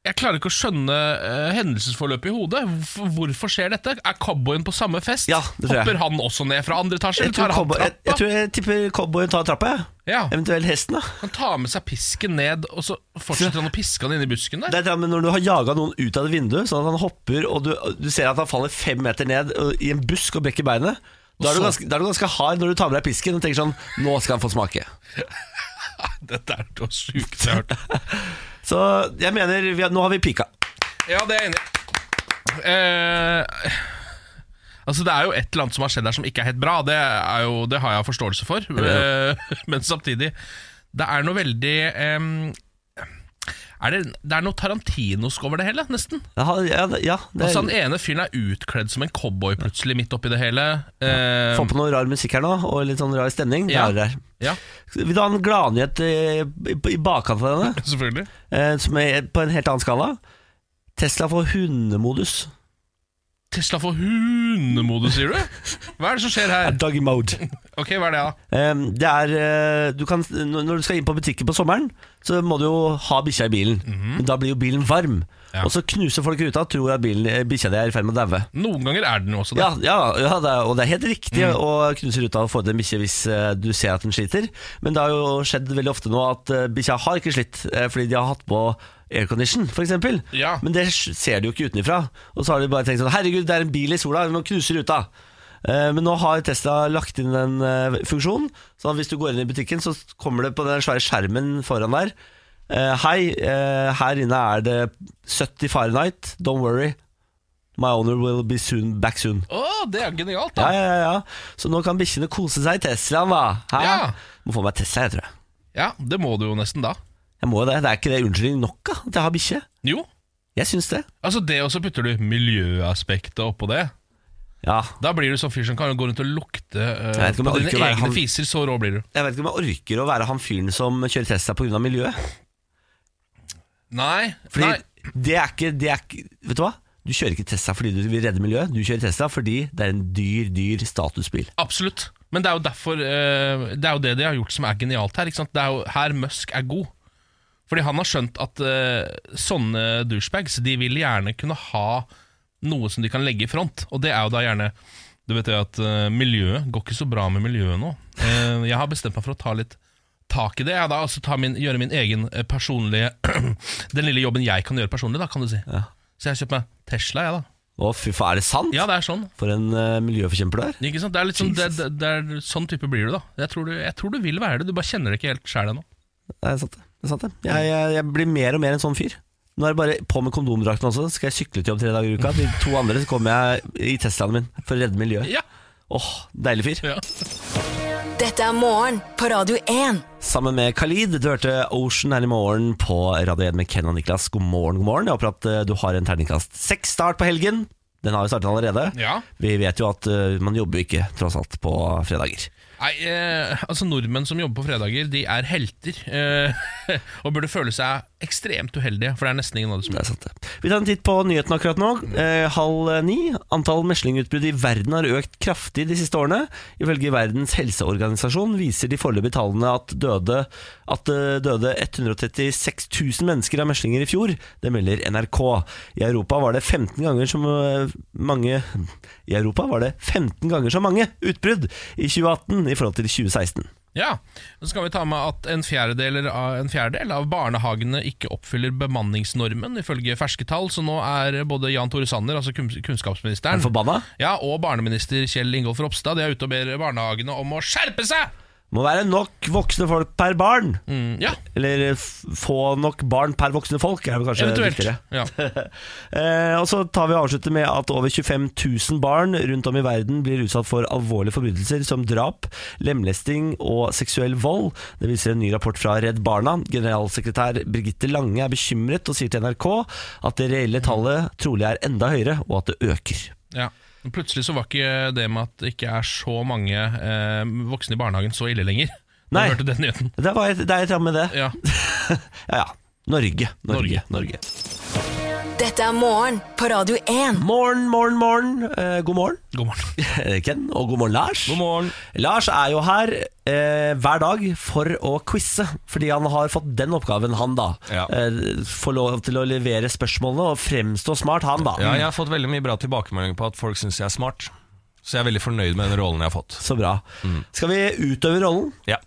B: jeg klarer ikke å skjønne eh, hendelsesforløpet i hodet. Hvorfor, hvorfor skjer dette? Er cowboyen på samme fest?
A: Ja, det tror jeg.
B: Hopper han også ned fra andre etasje?
A: Jeg
B: Eller
A: tror,
B: tar han
A: cowboy, jeg,
B: trappa?
A: jeg, tror jeg tipper cowboyen tar trappa, jeg.
B: Ja,
A: Eventuelt hesten, da.
B: Han tar med seg pisken ned, og så fortsetter han å piske han inn i busken der.
A: Det er det med når du har jaga noen ut av et vindu, sånn at han hopper, og du, du ser at han faller fem meter ned ø, i en busk og brekker beinet. Da er, du
B: så-
A: ganske, da er du ganske hard når du tar med deg pisken og tenker sånn Nå skal han få smake.
B: Dette er noe sjukt jeg har hørt.
A: Så jeg mener vi har, Nå har vi pika.
B: Ja, det er jeg enig i. Eh, altså Det er jo et eller annet som har skjedd her som ikke er helt bra. Det, er jo, det har jeg forståelse for. Eh, men samtidig, det er noe veldig em, er det, det er noe tarantinosk over det hele, nesten.
A: Ja, ja, ja det
B: Altså
A: er,
B: Han ene fyren er utkledd som en cowboy plutselig, midt oppi det hele. Eh,
A: Få på noe rar musikk her nå, og litt sånn rar stemning. Det
B: Ja.
A: er det her.
B: ja,
A: Vil du ha en gladnyhet eh, i i bakkant av denne,
B: selvfølgelig.
A: eh, som er på en helt annen skala? Tesla får hundemodus.
B: Tesla får hundemodus, sier du? Hva er det som skjer her?
A: Doggy mode.
B: Ok, hva er det, da?
A: Ehm, Det er eh, du kan, når- Når du skal inn på butikken på sommeren, så må du jo ha bikkja i bilen. Men da blir jo bilen varm.
B: Ja.
A: Og så knuser folk ruta og tror at bilen- eh, bikkja di er i ferd med å daue.
B: Noen ganger er den jo også det. Mm.
A: Ja, ja, ja det er, og det er helt riktig å knuse ruta og få ut en bikkje hvis eh, du ser at den sliter. Men det har jo skjedd veldig ofte nå at eh, bikkja har ikke slitt eh, fordi de har hatt på aircondition, f.eks.
B: Ja.
A: Men det s- ser du jo ikke utenfra. Og så har de bare tenkt sånn Herregud, det er en bil i sola, vi må knuse ruta. Eh, Men nå har Tesla lagt inn en eh, funksjon, så hvis du går inn i butikken, så kommer det på den svære skjermen foran der eh, Hei, eh, her inne er det 70 Fahrenheit, don't worry. My owner will be soon, back soon.
B: Å, det er genialt, da!
A: Ja, ja, ja, ja. Så nå kan bikkjene kose seg i Teslaen, da. Hæ?
B: Ja.
A: Må få meg Tesla, jeg tror jeg.
B: Ja, det må du jo nesten da.
A: Jeg må jo det. Det er ikke det unnskyldning nok da, at jeg har bikkje.
B: Jo.
A: Jeg syns det.
B: Altså det, og så putter du miljøaspektet oppå det.
A: Ja.
B: Da blir du sånn fyr som kan gå rundt og lukte eh,
A: Jeg vet ikke om
B: på
A: jeg
B: dine
A: orker å være
B: egne
A: han-
B: fiser. Så rå blir du.
A: Jeg vet ikke om jeg orker å være han fyren som kjører Tesla pga. miljøet.
B: Nei.
A: Fordi
B: nei.
A: det er ikke det er ikke, Vet du hva? Du kjører ikke Tesla fordi du vil redde miljøet. Du kjører Tesla fordi det er en dyr, dyr statusbil.
B: Absolutt. Men det er jo derfor eh, Det er jo det de har gjort som er genialt her. Ikke sant? Det er jo her Musk er god. Fordi han har skjønt at eh, sånne douchebags De vil gjerne kunne ha noe som de kan legge i front. Og det er jo da gjerne Du vet det at eh, miljøet går ikke så bra med miljøet nå. Eh, jeg har bestemt meg for å ta litt tak i det. Jeg da altså ta min, Gjøre min egen eh, personlige Den lille jobben jeg kan gjøre personlig, da, kan du si.
A: Ja.
B: Så jeg har kjøpt meg Tesla, jeg, da.
A: Å, fy faen, er det sant?
B: Ja, det er sånn.
A: For en eh, miljøforkjemper du er.
B: Ikke sant? Det er litt sånn, det, det, det er sånn type blir du, da. Jeg tror du, jeg tror du vil være det, du bare kjenner det ikke helt sjæl ennå.
A: Det er sant, det. det, er sant, det. Jeg, jeg, jeg blir mer og mer en sånn fyr. Nå er det bare på med kondomdrakten også. Skal jeg sykle til jobb tre dager i uka? De to andre så kommer jeg i Teslaen min for å redde miljøet.
B: Ja.
A: Åh, Deilig fyr.
B: Ja.
C: Dette er morgen på Radio 1.
A: Sammen med Khalid. Du hørte Ocean her i morgen på Radio 1 med Ken og Niklas. God morgen, god morgen. Jeg håper at eh, du har en terningkast seks start på helgen. Den har jo startet allerede.
B: Ja.
A: Vi vet jo at eh, man jobber jo ikke tross alt på fredager.
B: Nei, eh, altså Nordmenn som jobber på fredager, de er helter. Eh, og burde føle seg ekstremt uheldige, for det er nesten ingen av dem som
A: Det er sant det. Vi tar en titt på nyheten akkurat nå. Eh, halv ni. Antall meslingutbrudd i verden har økt kraftig de siste årene. Ifølge Verdens helseorganisasjon viser de foreløpige tallene at, døde, at det døde 136 000 mennesker av meslinger i fjor. Det melder NRK. I Europa var det 15 ganger så eh, mange I Europa var det 15 ganger så mange utbrudd i 2018 i forhold til 2016.
B: Ja, Så skal vi ta med at en fjerdedel, av, en fjerdedel av barnehagene ikke oppfyller bemanningsnormen, ifølge ferske tall. Så nå er både Jan Tore Sanner, altså kun-
A: Er
B: kunnskapsministeren,
A: du forbanna?
B: ja, og barneminister Kjell Ingolf Ropstad De er ute og ber barnehagene om å skjerpe seg!
A: Må være nok voksne folk per barn.
B: Mm, ja,
A: Eller eh, f- få nok barn per voksne folk, er vel kanskje
B: eventuelt.
A: viktigere.
B: Ja.
A: Eh, og så tar vi og avslutter med at over 25 000 barn rundt om i verden blir utsatt for alvorlige forbrytelser som drap, lemlesting og seksuell vold. Det viser en ny rapport fra Redd Barna. Generalsekretær Birgitte Lange er bekymret og sier til NRK at det reelle tallet trolig er enda høyere, og at det øker.
B: Ja. Men Plutselig så var ikke det med at det ikke er så mange eh, voksne i barnehagen så ille lenger. Når
A: Nei.
B: jeg hørte den nyheten.
A: Det, var et, det er et ramme, det.
B: Ja.
A: Ja, ja. Norge, Norge, Norge.
C: Dette er morgen på Radio 1.
A: Morgen, morgen, morgen. Eh, god morgen.
B: God morgen.
A: Eh, Ken, og god morgen, Lars. God morgen Lars er jo her eh, hver dag for å quize, fordi han har fått den oppgaven, han da.
F: Ja.
A: Eh, Få lov til å levere spørsmålene og fremstå smart, han da.
F: Ja, jeg har fått veldig mye bra tilbakemeldinger på at folk syns jeg er smart. Så jeg er veldig fornøyd med den rollen jeg har fått. Mm.
A: Så bra. Skal vi utøve rollen?
F: Ja.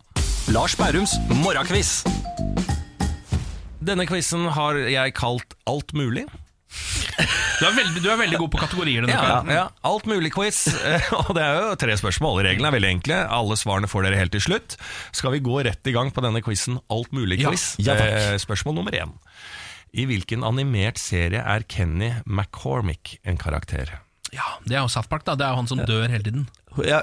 F: Lars Bærums morgenkviss. Denne quizen har jeg kalt Alt mulig.
B: Du er veldig, du er veldig god på kategorier denne
F: Ja,
B: kvelden.
F: ja. Alt mulig-quiz. Og det er jo tre spørsmål. Reglene er veldig enkle. Alle svarene får dere helt til slutt. Skal vi gå rett i gang på denne quizen Alt mulig-quiz?
A: Ja, ja, takk.
F: spørsmål nummer én. I hvilken animert serie er Kenny McCormick en karakter?
B: Ja, det er jo South Park, da. Det er jo han som dør hele tiden.
A: Ja.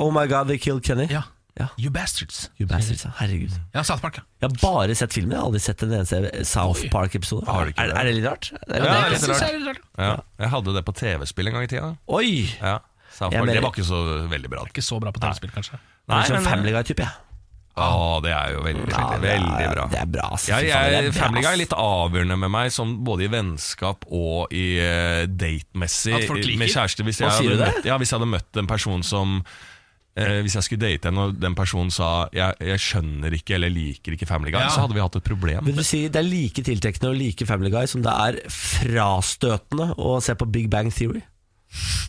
A: Oh my god, they killed Kenny.
B: Ja.
A: Ja.
B: You bastards.
A: You bastards, ja. herregud.
B: Ja, South Park, ja.
A: Jeg har bare sett filmen, jeg har aldri sett en eneste South Park-episode.
F: Har du ikke
A: Er,
F: det?
A: er det litt rart? Det er jo
F: Ja, det er
A: det.
F: litt rart.
B: litt rart.
F: Ja, jeg hadde det på TV-spill en gang i tida.
A: Oi!
F: Ja, South
A: Jeg
F: Park.
A: mener-
F: Det var ikke så veldig bra.
B: Ikke så bra på TV-spill, kanskje.
A: Nei, jeg er sånn
F: men-
A: Family Guy-type, jeg.
F: Å, det er jo veldig, veldig,
A: det er-
F: veldig bra.
A: det er bra, ass. Fy
F: Ja,
A: faen, det er
F: jeg,
A: bra,
F: Family Guy
A: ass.
F: er litt avgjørende med meg, som både i vennskap og i eh, datemessig.
B: At folk liker?
F: Med kjæreste. Hvis jeg,
A: Hva sier du
F: hadde
A: det?
F: møtt, ja, hvis jeg hadde møtt en person som eh, Hvis jeg skulle date henne, og den personen sa jeg, 'jeg skjønner ikke eller liker ikke Family Guy',
B: Ja.
F: så hadde vi hatt et problem.
A: Vil du si det er like tiltrekkende og like Family Guy som det er frastøtende å se på Big Bang Theory?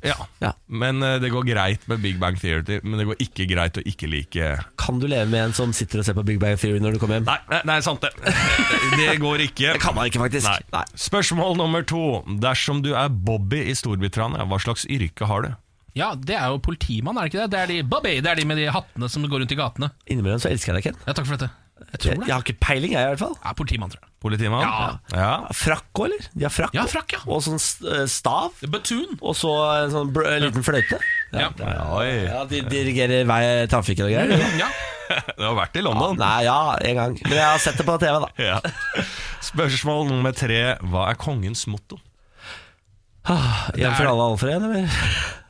F: Ja.
A: Ja.
F: Men eh, det går greit med Big Bang Theory, men det går ikke greit å ikke like
A: Kan du leve med en som sitter og ser på Big Bang Theory når du kommer hjem?
F: Nei, nei, nei sant det. Det går ikke.
A: Det kan man ikke, faktisk.
F: Nei.
A: Nei.
F: Spørsmål nummer to. Dersom du er Bobby i Storbritannia, hva slags yrke har du?
B: Ja, det er jo politimann, er det ikke det? Det er de Bobby, det er de med de hattene som går rundt i gatene.
A: Innimellom så elsker jeg deg, Ken.
B: Ja, takk for dette. Jeg
A: Jeg,
B: tror
A: jeg
B: det.
A: har ikke peiling, jeg i hvert fall.
B: Ja, politimann, tror jeg.
F: Politimann?
B: Ja.
F: Ja.
A: Frakk òg, eller? De har frakk.
B: Ja,
A: også.
B: frakk, ja.
A: Og sånn st- eh, stav.
B: The Batoon.
A: Og så en sånn br en liten fløyte.
B: Ja.
A: det er-
F: Oi.
A: ja, De dirigerer vei trafikken og greier.
B: Ja.
F: Det har vært i London.
A: Nei, ja, en gang. Men jeg har sett det på TV, da.
F: Ja. Spørsmål nummer tre. Hva er kongens motto?
A: En for alle, alle for en, eller?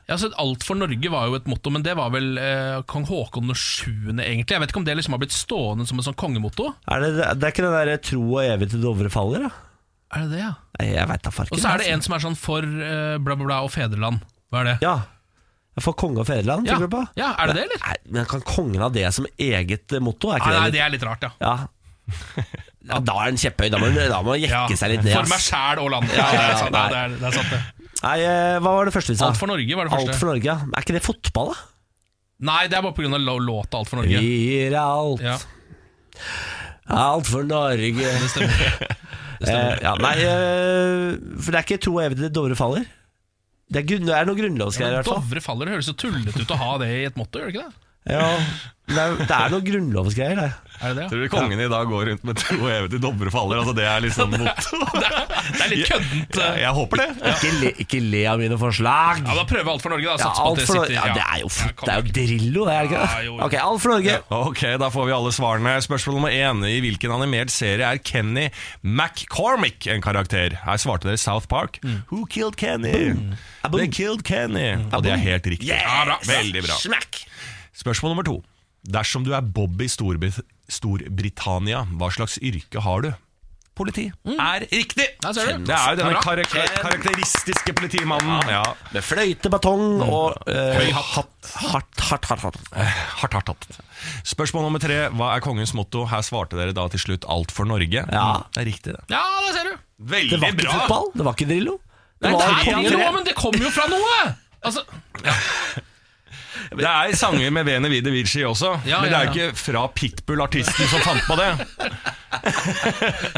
B: Ja, så Alt for Norge var jo et motto, men det var vel eh, kong Haakon 7., egentlig. Jeg vet ikke om det liksom har blitt stående som et sånn kongemotto.
A: Er det, det er ikke den derre 'tro og evig til Dovre faller', da?
B: Er det det, ja?
A: Nei, jeg veit da farken.
B: Og så er det
A: altså.
B: en som er sånn for eh, bla, bla, bla og fedreland. Hva er det?
A: Ja. For konge og fedreland,
B: Ja.
A: tenker du på?
B: Ja, er det det, eller? Ah,
A: Nei, men kan kongen ha det som eget eh, motto? Er ikke
B: Nei, nei,
A: det,
B: det er litt rart, ja.
A: litt- Ja. ja, da er den kjepphøy. Da må den- da må den
B: ja.
A: jekke seg litt ned.
B: For meg
A: ass.
B: sjæl og landet. Ja, det
A: ja,
B: er sant,
A: nei.
B: ja, det. Er, det er sant, det.
A: Nei, eh, hva var det første vi sa?
B: Alt for Norge var det
A: Alt
B: første.
A: for Norge, ja. Er ikke det fotball, da?
B: Nei, det er bare pga. låta Alt for Norge.
A: Vi gir alt.
B: Ja.
A: Alt for Norge. Det stemmer. Eh, ja, nei, eh, for det er ikke tro og evig til Dovre faller. Det er, grunn, det er noe grunnlovsgreier, i hvert fall.
B: Dovre faller, det høres så tullete ut å ha det i et motto, gjør det ikke det?
A: Ja, det er, det er noe grunnlovsgreier, det.
B: Er det det?
F: Tror du kongen i dag går rundt med to hevede dobrefaller? Altså, det er liksom mot
B: ja? Det er litt køddent. eh,
F: Jeg, jeg håper det.
A: Ikke le, ikke le av mine forslag!
B: Ja, da prøver alt for Norge, da.
A: Ja,
B: Sats på at
A: alt
B: det
A: for,
B: sitter.
A: ja, det er jo
B: Ja,
A: fort.
B: kom
A: Det er jo Drillo, det er det ikke
B: Ja, jo,
A: det?
B: jo.
A: Ok, alt for Norge.
F: Ok, da får vi alle svarene. Spørsmål nummer én. I hvilken animert serie er Kenny McCormick en karakter? Her svarte dere South Park. Who killed Kenny? They killed Kenny. Og det er helt riktig. Ja, bra. Veldig bra.
A: Smack!
F: Spørsmål nummer to. Dersom du er Bob i Storbrit Storbritannia, hva slags yrke har du? Politi. Er riktig!
B: Ja, ser du.
F: Det er jo denne
B: Ja, bra.
F: karak karakteristiske politimannen. Ja.
A: Med fløyte, batong og eh,
F: Høy hatt.
A: hardt, hardt, hardt. hardt.
F: Hardt, hardt, hardt. Spørsmål nummer tre. Hva er kongens motto? Her svarte dere da til slutt 'Alt for Norge'. Mm.
A: Ja.
F: Det er riktig, det.
B: Ja, da ser du.
A: Det
F: Veldig
A: var ikke fotball, det var ikke Drillo. Det
B: Det
A: var
B: er
A: kongen.
B: jo, men det kommer jo fra noe! Altså,
F: Det er sanger med Vene Vide Vici også,
B: Ja,
F: men det er
B: ja,
F: jo
B: ja.
F: ikke fra Pitbull-artisten som fant på det.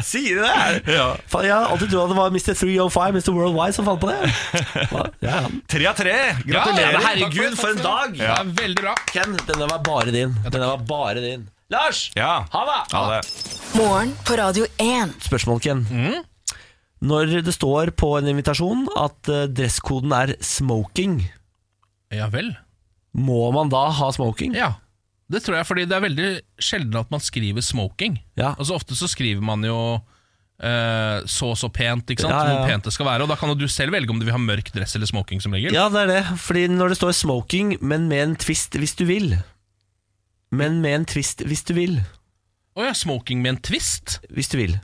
A: Sier de det?
F: Ja.
A: Faen, Jeg har alltid trodd at det var Mr. 305, Mr. Worldwide, som fant på det. Hva? Ja.
F: Tre av tre!
B: ja,
F: Gratulerer!
B: men
A: Herregud, for en dag!
B: Ja, veldig bra.
A: Ken, denne var bare din. Denne var bare din. Lars!
F: Ja.
A: Ha det!
F: Ha det.
C: Morgen på Radio 1.
A: Spørsmål, Ken. Når det står på en invitasjon at eh, dresskoden er smoking,
B: Ja vel.
A: må man da ha smoking?
B: Ja, det tror jeg, fordi det er veldig sjelden at man skriver smoking.
A: Ja.
B: Altså Ofte så skriver man jo eh, så og så pent, ikke sant?
A: Ja, ja, ja.
B: Hvor pent det skal være. Og da kan jo du selv velge om du vil ha mørk dress eller smoking, som regel.
A: Ja, det er det. Fordi når det står smoking, men med en twist hvis du vil. Men med en twist hvis du vil.
B: Å ja, smoking med en twist?
A: Hvis du vil.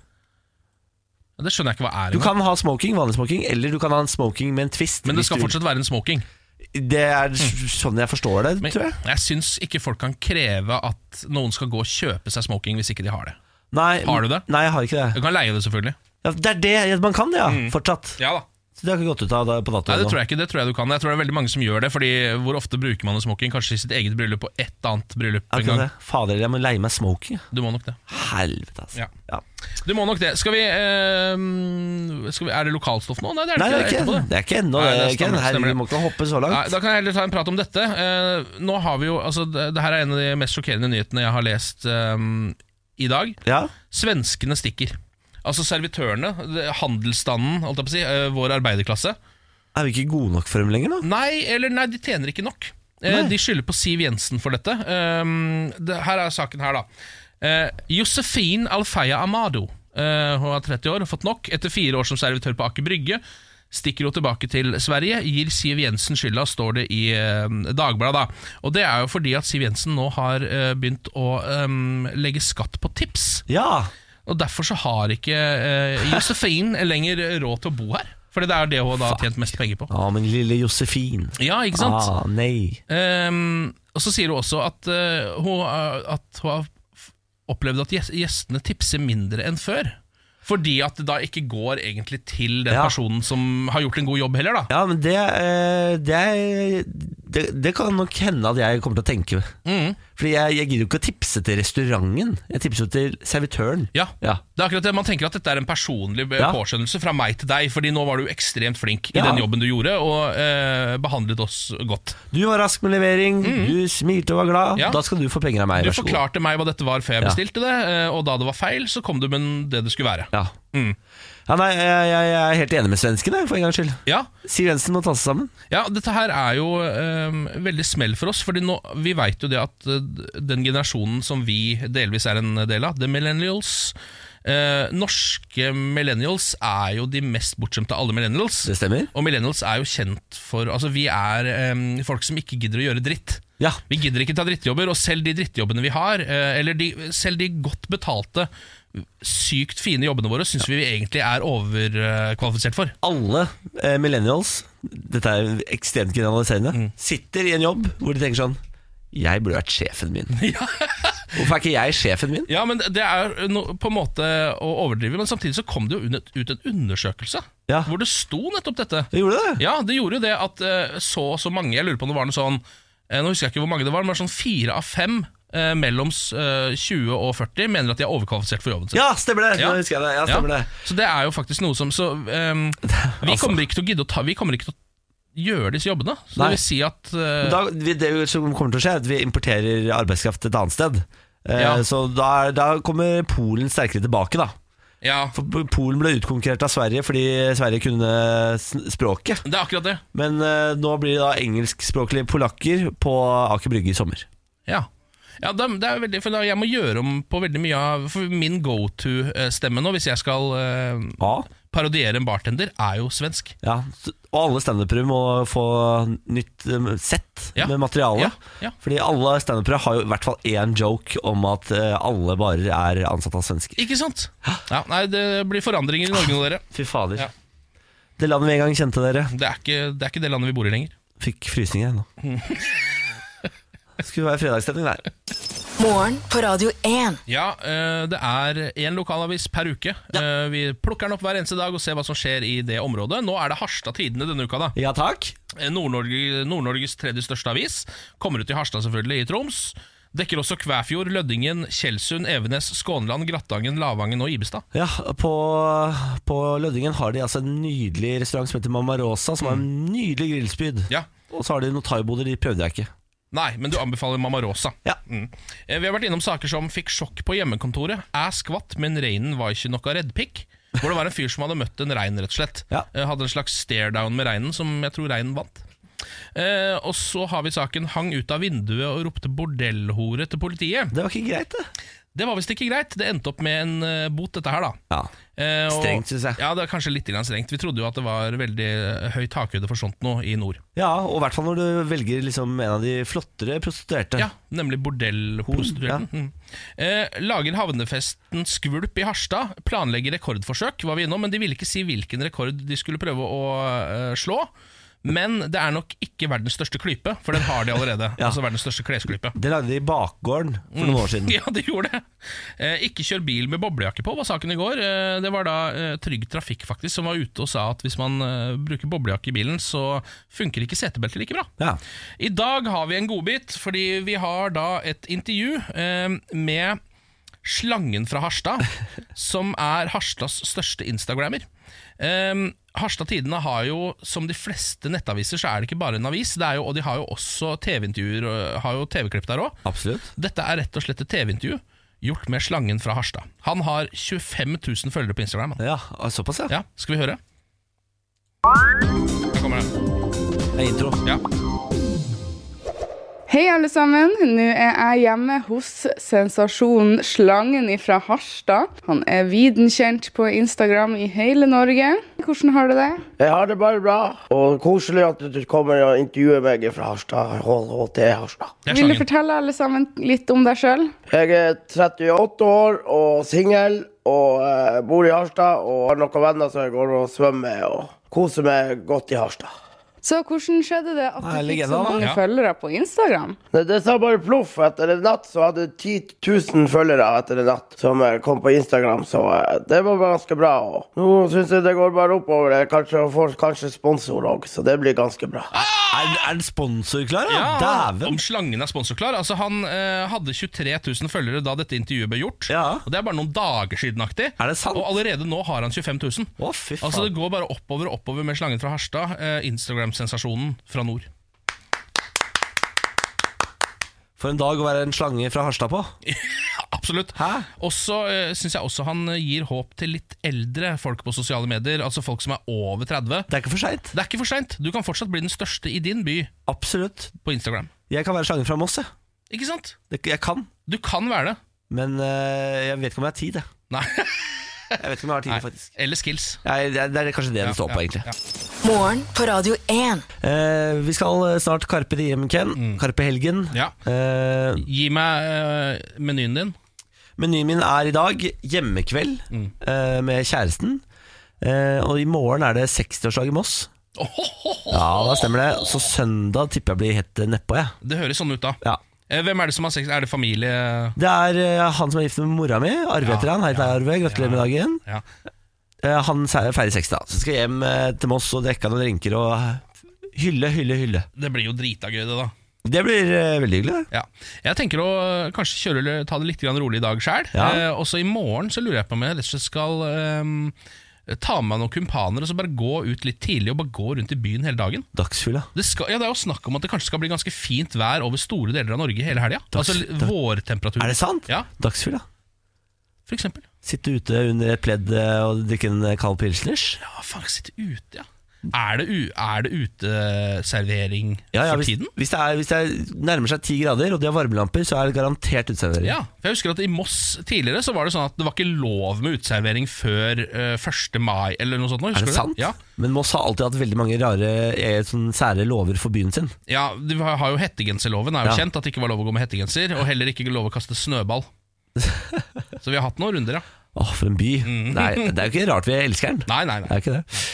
B: Ja, Det skjønner jeg ikke hva er.
A: Du
B: engang.
A: kan ha smoking, vanlig smoking, eller du kan ha en smoking med en twist.
B: Men det
A: hvis
B: skal
A: du vil.
B: fortsatt være en smoking.
A: Det er s- sånn jeg forstår det,
B: Men
A: tror jeg.
B: jeg syns ikke folk kan kreve at noen skal gå og kjøpe seg smoking hvis ikke de har det.
A: Nei,
B: Har du det?
A: Nei, jeg har ikke det.
B: Du kan leie det, selvfølgelig.
A: Ja, det er det ja, man kan det, ja. Fortsatt.
B: Ja da
A: Så det har ikke gått ut av det på
B: Mm. Nei,
A: datoen
B: det tror jeg ikke. det tror Jeg du kan Jeg tror det er veldig mange som gjør det. Fordi Hvor ofte bruker man en smoking? Kanskje i sitt eget bryllup og et annet bryllup en
A: ikke
B: gang.
A: det? Fader, jeg må leie meg smoking.
B: Du må nok det.
A: Helvete, altså.
B: Ja.
A: Ja.
B: Du må nok det. Skal vi, eh, skal vi Er det lokalstoff nå? Nei, det er det
A: Nei, det er
B: ikke.
A: ikke,
B: etterpå,
A: det er ikke ennå.
B: Nei, det
A: det er ikke-
B: stemmer,
A: Herregud,
B: stemmer
A: vi
B: det.
A: må ikke hoppe så
B: Nei,
A: langt.
B: da kan jeg heller ta en prat om dette. Eh, nå har vi jo, altså Det det her er en av de mest sjokkerende nyhetene jeg har lest eh, i dag.
A: Ja,
B: Svenskene stikker. Altså servitørene, det- handelsstanden, holdt jeg på å si, eh, vår arbeiderklasse.
A: Er vi ikke gode nok for dem lenger, nå?
B: Nei, eller nei, de tjener ikke nok. Eh, De skylder på Siv Jensen for dette. Um, det, her er saken her, da. Eh, Josefin Alfeia Amado. eh, hun er 30 år, har fått nok. Etter fire år som servitør på Aker Brygge stikker hun tilbake til Sverige. Gir Siv Jensen skylda, står det i eh, Dagbladet. da. Og det er jo fordi at Siv Jensen nå har eh, begynt å eh, legge skatt på tips.
A: Ja!
B: Og derfor så har ikke eh, Josefin lenger råd til å bo her. Fordi det er det hun da har tjent mest penger på.
A: Ja, men lille Josefin.
B: Ja, ikke sant?
A: Ah, nei.
B: Ehm, og så sier hun også at, eh, hun, eh, at hun har f- opplevd at gjes- gjestene tipser mindre enn før. Fordi at det da ikke går egentlig til den
A: Ja.
B: personen som har gjort en god jobb heller, da.
A: Ja, men det, eh, det, er- det Det kan nok hende at jeg kommer til å tenke.
B: Mm.
A: Fordi jeg, jeg gidder jo ikke å tipse til restauranten. Jeg tipser jo til servitøren.
B: Ja.
A: Ja.
B: Det er akkurat det, Man tenker at dette er en personlig eh,
A: Ja.
B: påskjønnelse fra meg til deg, Fordi nå var du ekstremt flink i
A: Ja.
B: den jobben du gjorde, og eh, behandlet oss godt.
A: Du var rask med levering, du smilte og var glad.
B: Mm. Ja.
A: Da skal du få penger av meg.
B: Du
A: vær så god.
B: forklarte meg hva dette var før jeg
A: Ja.
B: bestilte det, eh, og da det var feil, så kom du med det det skulle være.
A: Ja.
B: Mm.
A: ja nei, jeg, jeg, jeg er helt enig med svenskene, for en gangs skyld.
B: Ja,
A: Siv Jensen må ta seg sammen.
B: Ja, dette her er jo øhm, veldig smell for oss, fordi nå, vi vet jo det at øh, den generasjonen som vi delvis er en del av, the millennials øh, Norske millennials er jo de mest bortskjemte av alle millennials.
A: Det stemmer?
B: Og millennials er jo kjent for Altså, vi er øhm, folk som ikke gidder å gjøre dritt.
A: Ja.
B: Vi gidder ikke ta drittjobber, og selv de drittjobbene vi har, eh, eller de, selv de godt betalte, sykt fine jobbene våre, syns vi egentlig er overkvalifisert for.
A: Alle eh, millennials, dette er ekstremt generaliserende, sitter i en jobb hvor de tenker sånn Jeg burde vært sjefen min. Hvorfor er ikke jeg sjefen min?
B: Ja, men det er no, på en måte å overdrive, men samtidig så kom det jo un- ut en undersøkelse
A: Ja.
B: hvor det sto nettopp dette.
A: Jeg gjorde det.
B: Ja, det gjorde jo det at eh, så og så mange, jeg lurer på om det var noe sånn eh, Nå husker jeg ikke hvor mange det var, men det var sånn fire av fem eh, mellom eh, 20 og 40 mener at de er overkvalifisert for jobben sin.
A: Ja, stemmer det!
B: Ja.
A: Nå husker jeg det. Ja,
B: Ja,
A: stemmer det.
B: Så det er jo faktisk noe som Så eh, vi
A: Altså.
B: kommer ikke til å gidde å ta Vi kommer ikke til å gjøre disse jobbene. Så
A: Nei.
B: det vil si at eh,
A: Men Da, vi- det som kommer til å skje, er at vi importerer arbeidskraft et annet sted. Eh,
B: Ja.
A: Så da, er- da kommer Polen sterkere tilbake, da.
B: Ja,
A: For Polen ble utkonkurrert av Sverige fordi Sverige kunne s- språket.
B: det er akkurat det.
A: Men eh, nå blir det da engelskspråklige polakker på Aker Brygge i sommer.
B: Ja, ja da, det er veldig, for da, jeg må gjøre om på veldig mye av For min go to-stemme nå, hvis jeg skal eh,
A: Ja.
B: parodiere en bartender, er jo svensk.
A: ja. s- Og alle standupere må få nytt eh, sett
B: Ja.
A: med materiale.
B: Ja, ja.
A: Fordi alle standupere har jo i hvert fall én joke om at eh, alle barer er ansatt av svensker.
B: Ikke sant? Ja, nei, det blir forandringer i Norge nå, dere.
A: Fy fader.
B: Ja.
A: Det landet vi en gang kjente dere,
B: Det er ikke det, er ikke det landet vi bor i lenger.
A: fikk frysninger jeg, nå.
B: Mm.
A: Det skulle være fredagsstemning der.
C: Morgen på Radio 1.
B: Ja, eh, det er én lokalavis per uke. Eh, vi plukker den opp hver eneste dag og ser hva som skjer i det området. Nå er det Harstad Tidende denne uka, da.
A: Ja takk.
B: Eh, Nord-Norge- Nord-Norges tredje største avis. Kommer ut i Harstad, selvfølgelig, i Troms. Dekker også Kvæfjord, Lødingen, Tjeldsund, Evenes, Skånland, Grattangen, Lavangen og Ibestad.
A: Ja, på, på Lødingen har de altså en nydelig restaurant som heter Mamma Rosa, som har en nydelig grillspyd.
B: Mm. Ja.
A: Og så har de noen thaiboder, de prøvde jeg ikke.
B: Nei, men du anbefaler Mamma Rosa.
A: Ja.
B: Mm. Eh, Vi har vært innom saker som fikk sjokk på hjemmekontoret. Jeg skvatt, men reinen var ikke noe reddpikk. Hvor det var en fyr som hadde møtt en rein, rett og slett.
A: Ja.
B: Eh, Hadde en slags stare down med reinen, som jeg tror reinen vant. Eh, og så har vi saken 'hang ut av vinduet og ropte bordellhore' til politiet.
A: Det var ikke greit, det.
B: Det var visst ikke greit. Det endte opp med en eh, bot, dette her, da.
A: Ja.
B: Eh, og-
A: Strengt, synes jeg.
B: Ja, det er kanskje litt grann strengt. Vi trodde jo at det var veldig eh, høy takhøyde for sånt noe i nord.
A: ja, og i hvert fall når du velger liksom en av de flottere prostituerte.
B: Ja, nemlig bordellprostituerten. Mm. Eh, lager havnefesten Skvulp i Harstad. Planlegger rekordforsøk, var vi innom, men de ville ikke si hvilken rekord de skulle prøve å eh, slå. Men det er nok ikke verdens største klype, for den har de allerede.
A: Ja.
B: Altså verdens største klesklype.
A: Det lagde de i bakgården for noen år siden.
B: Ja, det gjorde det. Eh, ikke kjør bil med boblejakke på, var saken i går. Eh, det var da eh, Trygg Trafikk faktisk som var ute og sa at hvis man eh, bruker boblejakke i bilen, så funker ikke setebeltet like bra.
A: Ja.
B: I dag har vi en godbit, fordi vi har da et intervju eh, med Slangen fra Harstad, som er Harstads største instagrammer. Eh, Harstad Tidende har jo, som de fleste nettaviser, så er det ikke bare en avis. Det er jo, og de har jo også TV-intervjuer, og har jo TV-klipp der òg.
A: Absolutt.
B: Dette er rett og slett et TV-intervju gjort med Slangen fra Harstad. Han har 25 000 følgere på Instagram. Han.
A: Ja, såpass, ja.
B: Ja, skal vi høre? Her kommer det.
A: Det er intro.
B: Ja.
G: Hei, alle sammen. Nå er jeg hjemme hos sensasjonen Slangen fra Harstad. Han er viden kjent på Instagram i hele Norge. Hvordan har du det?
H: Jeg har det bare bra, og koselig at du kommer og intervjuer meg fra Harstad. HHT Harstad.
B: Det er
G: Vil du
B: Slangen.
G: fortelle alle sammen litt om deg sjøl?
H: Jeg er 38 år og singel og eh, bor i Harstad og har noen venner som jeg går og svømmer med og koser meg godt i Harstad.
G: Så hvordan skjedde det at
A: Nei,
G: du fikk
A: legende,
G: så
A: da.
G: mange
B: Ja.
G: følgere på Instagram?
H: Det, det sa bare ploff. Etter en natt så hadde jeg 10 000 følgere etter en natt som eh, kom på Instagram, så eh, det var ganske bra. Og nå syns jeg det går bare oppover. Jeg kanskje får kanskje sponsor òg, så det blir ganske bra.
A: Er, er den sponsor klar, da?
B: Om
A: Dæven.
B: Slangen er sponsorklar. Altså, han eh, hadde 23 000 følgere da dette intervjuet ble gjort.
A: Ja.
B: Og Det er bare noen dager siden aktig.
A: Er det sant?
B: Og allerede nå har han 25 000.
A: Å, fy faen.
B: Altså, det går bare oppover og oppover med Slangen fra Harstad. Eh, Instagram-sensasjonen fra nord.
A: For en dag å være en slange fra Harstad på.
B: Absolutt.
A: Hæ?
B: Og så uh, syns jeg også han eh, gir håp til litt eldre folk på sosiale medier. Altså folk som er over 30.
A: Det er ikke for seint.
B: Det er ikke for seint. Du kan fortsatt bli den største i din by
A: Absolutt.
B: på Instagram.
A: Jeg kan være slangen fra Moss, jeg.
B: Ikke sant?
A: Det- Jeg kan.
B: Du kan være det.
A: Men eh, jeg vet ikke om jeg har tid, jeg.
B: Nei.
A: Jeg vet ikke om jeg har tid,
B: Nei.
A: faktisk.
B: Eller skills.
A: Nei, det, er, det er kanskje det det står på,
B: ja,
A: egentlig.
B: ja.
C: Morgen på Radio 1.
A: Eh, vi skal eh, snart Karpe Diem, Ken. Karpe Helgen.
B: Mm. Ja.
A: Eh,
B: Gi meg eh, menyen din.
A: menyen min er i dag hjemmekveld
B: Mm.
A: eh, med kjæresten. Eh, og i morgen er det 60-årsdag i Moss. Ja, da stemmer det. Så søndag tipper jeg blir helt eh, nedpå, jeg.
B: Det høres sånn ut, da.
A: Ja.
B: Eh, Hvem er det som har sex? Er det familie?
A: Det er eh, han som er gift med mora mi. Arve
B: Ja,
A: heter han. Hei til deg, Arve. Gratulerer med dagen.
B: Ja.
A: Eh, han se- feirer 60, da. Så skal jeg hjem eh, til Moss og drikke noen drinker og hylle, hylle, hylle.
B: Det blir jo drita gøy, det, da.
A: Det blir eh, veldig hyggelig, det.
B: Ja. Jeg tenker å eh, kanskje kjøre, ta det litt grann rolig i dag sjøl.
A: Ja.
B: Eh, også i morgen så lurer jeg på om jeg rett og slett skal eh, eh, ta med meg noen kumpaner og så bare gå ut litt tidlig og bare gå rundt i byen hele dagen.
A: Dagsfylla.
B: Det, skal, ja, det er jo snakk om at det kanskje skal bli ganske fint vær over store deler av Norge hele helga. Altså
A: Dags- dag-
B: vårtemperatur.
A: Er det sant?
B: Ja,
A: Dagsfylla.
B: for eksempel.
A: Sitte ute under et pledd eh, og drikke en eh, kald pilsners.
B: Ja, Ah, faen, sitte ute, ja. Er det, u- er det uteservering
A: Ja, ja,
B: for
A: hvis,
B: tiden?
A: hvis, det er, hvis det er, nærmer seg ti grader og de har varmelamper, så er det garantert uteservering.
B: Ja, for jeg husker at I Moss tidligere så var det sånn at det var ikke lov med uteservering før eh, 1. mai. eller noe sånt.
A: Er
B: nå, husker
A: det
B: du
A: sant?
B: Ja,
A: Men Moss har alltid hatt veldig mange rare, eh, sånn sære lover for byen sin.
B: ja du har har jo Hettegenserloven er jo
A: Ja.
B: kjent, at det ikke var lov å gå med hettegenser. Og heller ikke lov å kaste snøball. så vi har hatt noen runder, ja.
A: Åh, for en by. Nei, det er jo ikke rart vi elsker den.
B: Mhm. Nei, nei,
A: Det
B: nei,
A: er jo ikke det.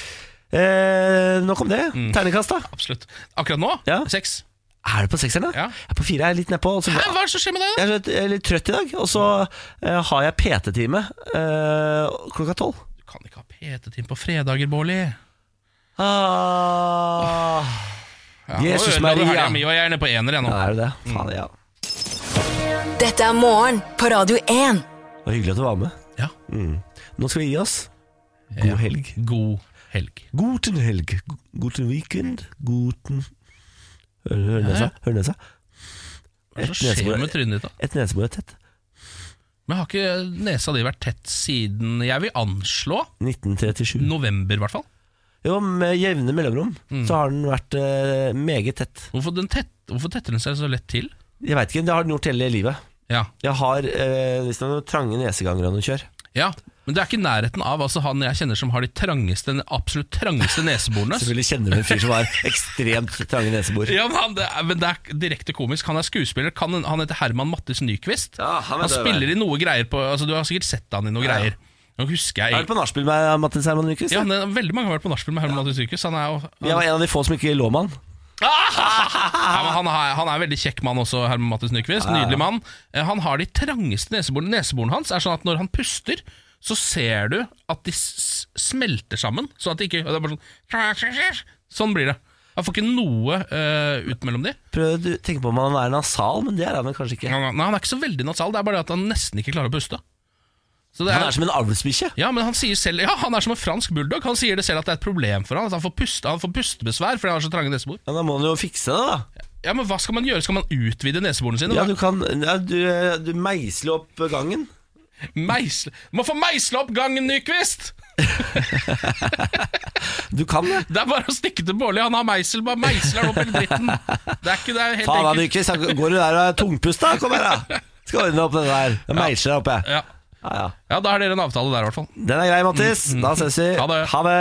A: Eh, nok om det.
B: Mm.
A: Terningkast, da.
B: absolutt. Akkurat nå
A: Ja.
B: seks.
A: Er du på sekseren, da?
B: Ja.
A: Jeg er på fire, jeg er litt nedpå. og så-
B: Hæ, hva er det som skjer med deg, da?
A: Jeg er litt- jeg er litt trøtt i dag, og så eh, har jeg PT-time eh, klokka tolv.
B: Du kan ikke ha PT-team på fredager, Bårli.
A: Ah.
B: Ja, nå
A: Jesus
B: ødela du
A: Maria.
B: helga mi, og Jeg er nede på ener igjen nå.
A: Er det det? Faen, ja.
C: Dette er morgen på Radio 1.
A: Det var hyggelig at du var med.
B: Ja.
A: Mm. Nå skal vi gi oss. God helg.
B: God helg.
A: Guten helg. Guten weekend. Guten Hør, hør nesa. Hør nesa.
B: Hva er det
A: Et
B: som skjer
A: nesebor-
B: med trynet ditt, da?
A: Et nesebor er tett.
B: Men Har ikke nesa di vært tett siden Jeg vil anslå
A: 1937.
B: november, i hvert fall.
A: Jo, med jevne mellomrom
B: Mm.
A: så har den vært eh, meget tett.
B: Hvorfor, den tett, hvorfor tetter den seg så lett til?
A: Jeg veit ikke, det har den gjort hele livet.
B: Ja.
A: Jeg har eh, visst noen trange neseganger og noen kjør.
B: ja, Men det er ikke i nærheten av altså, han jeg kjenner som har de trangeste, absolutt trangeste neseborene.
A: Selvfølgelig kjenner du en fyr som har ekstremt trange nesebor.
B: Ja, men, han, det er, men det er direkte komisk. Han er skuespiller. Kan, han heter Herman Mattis Nyquist.
A: Ja, han vet det,
B: spiller i noe greier på altså, Du har sikkert sett han i noe greier. Nå husker
A: Er du
B: jeg
A: på nachspiel med eh, Mattis Herman Nyquist?
B: ja, han er- Veldig mange har vært på nachspiel med Herman Mattis Nyquist. Han er, jo-
A: Jeg var en av de få som ikke lå med han.
B: Ja, men han, er, han er en veldig kjekk mann også, Herman Mattis Nyquist. Nydelig mann. Eh, Han har de trangeste neseborene. Neseborene hans er sånn at når han puster, så ser du at de s- smelter sammen. Så at det ikke og det er bare sånn, sånn blir det. Han får ikke noe eh, ut mellom de.
A: Prøv å tenke på om han er nasal, men det er han kanskje ikke.
B: Nei, han er ikke så veldig nasal, det er bare det at han nesten ikke klarer å puste. Så det
A: Han
B: er,
A: er som en avlsbikkje.
B: ja, men han sier selv Ja, han er som en fransk bulldog. Han sier det selv at det er et problem for han At han får, puste, han får pustebesvær fordi han har så trange nesebor.
A: Ja, da må han jo fikse det, da.
B: Ja, Men hva skal man gjøre? Skal man utvide neseborene sine?
A: Ja, du kan ja, du, eh, du meisler opp gangen.
B: Meisle Må få meisle opp gangen, Nyquist!
A: Du kan det.
B: Det er bare å stikke til Bårli. Han har meisel, bare meisler han opp hele dritten. Det er ikke det er helt
A: Faen da,
B: enkelt.
A: Nyquist. Går du der og er tungpust, da? Kom her, da. Skal ordne opp den der. Jeg meisler deg opp, jeg.
B: Ja.
A: Ja, ja.
B: ja, da har dere en avtale der, i hvert fall.
A: Den er grei, Mattis. Da ses vi.
B: Ha det.
A: Ha det.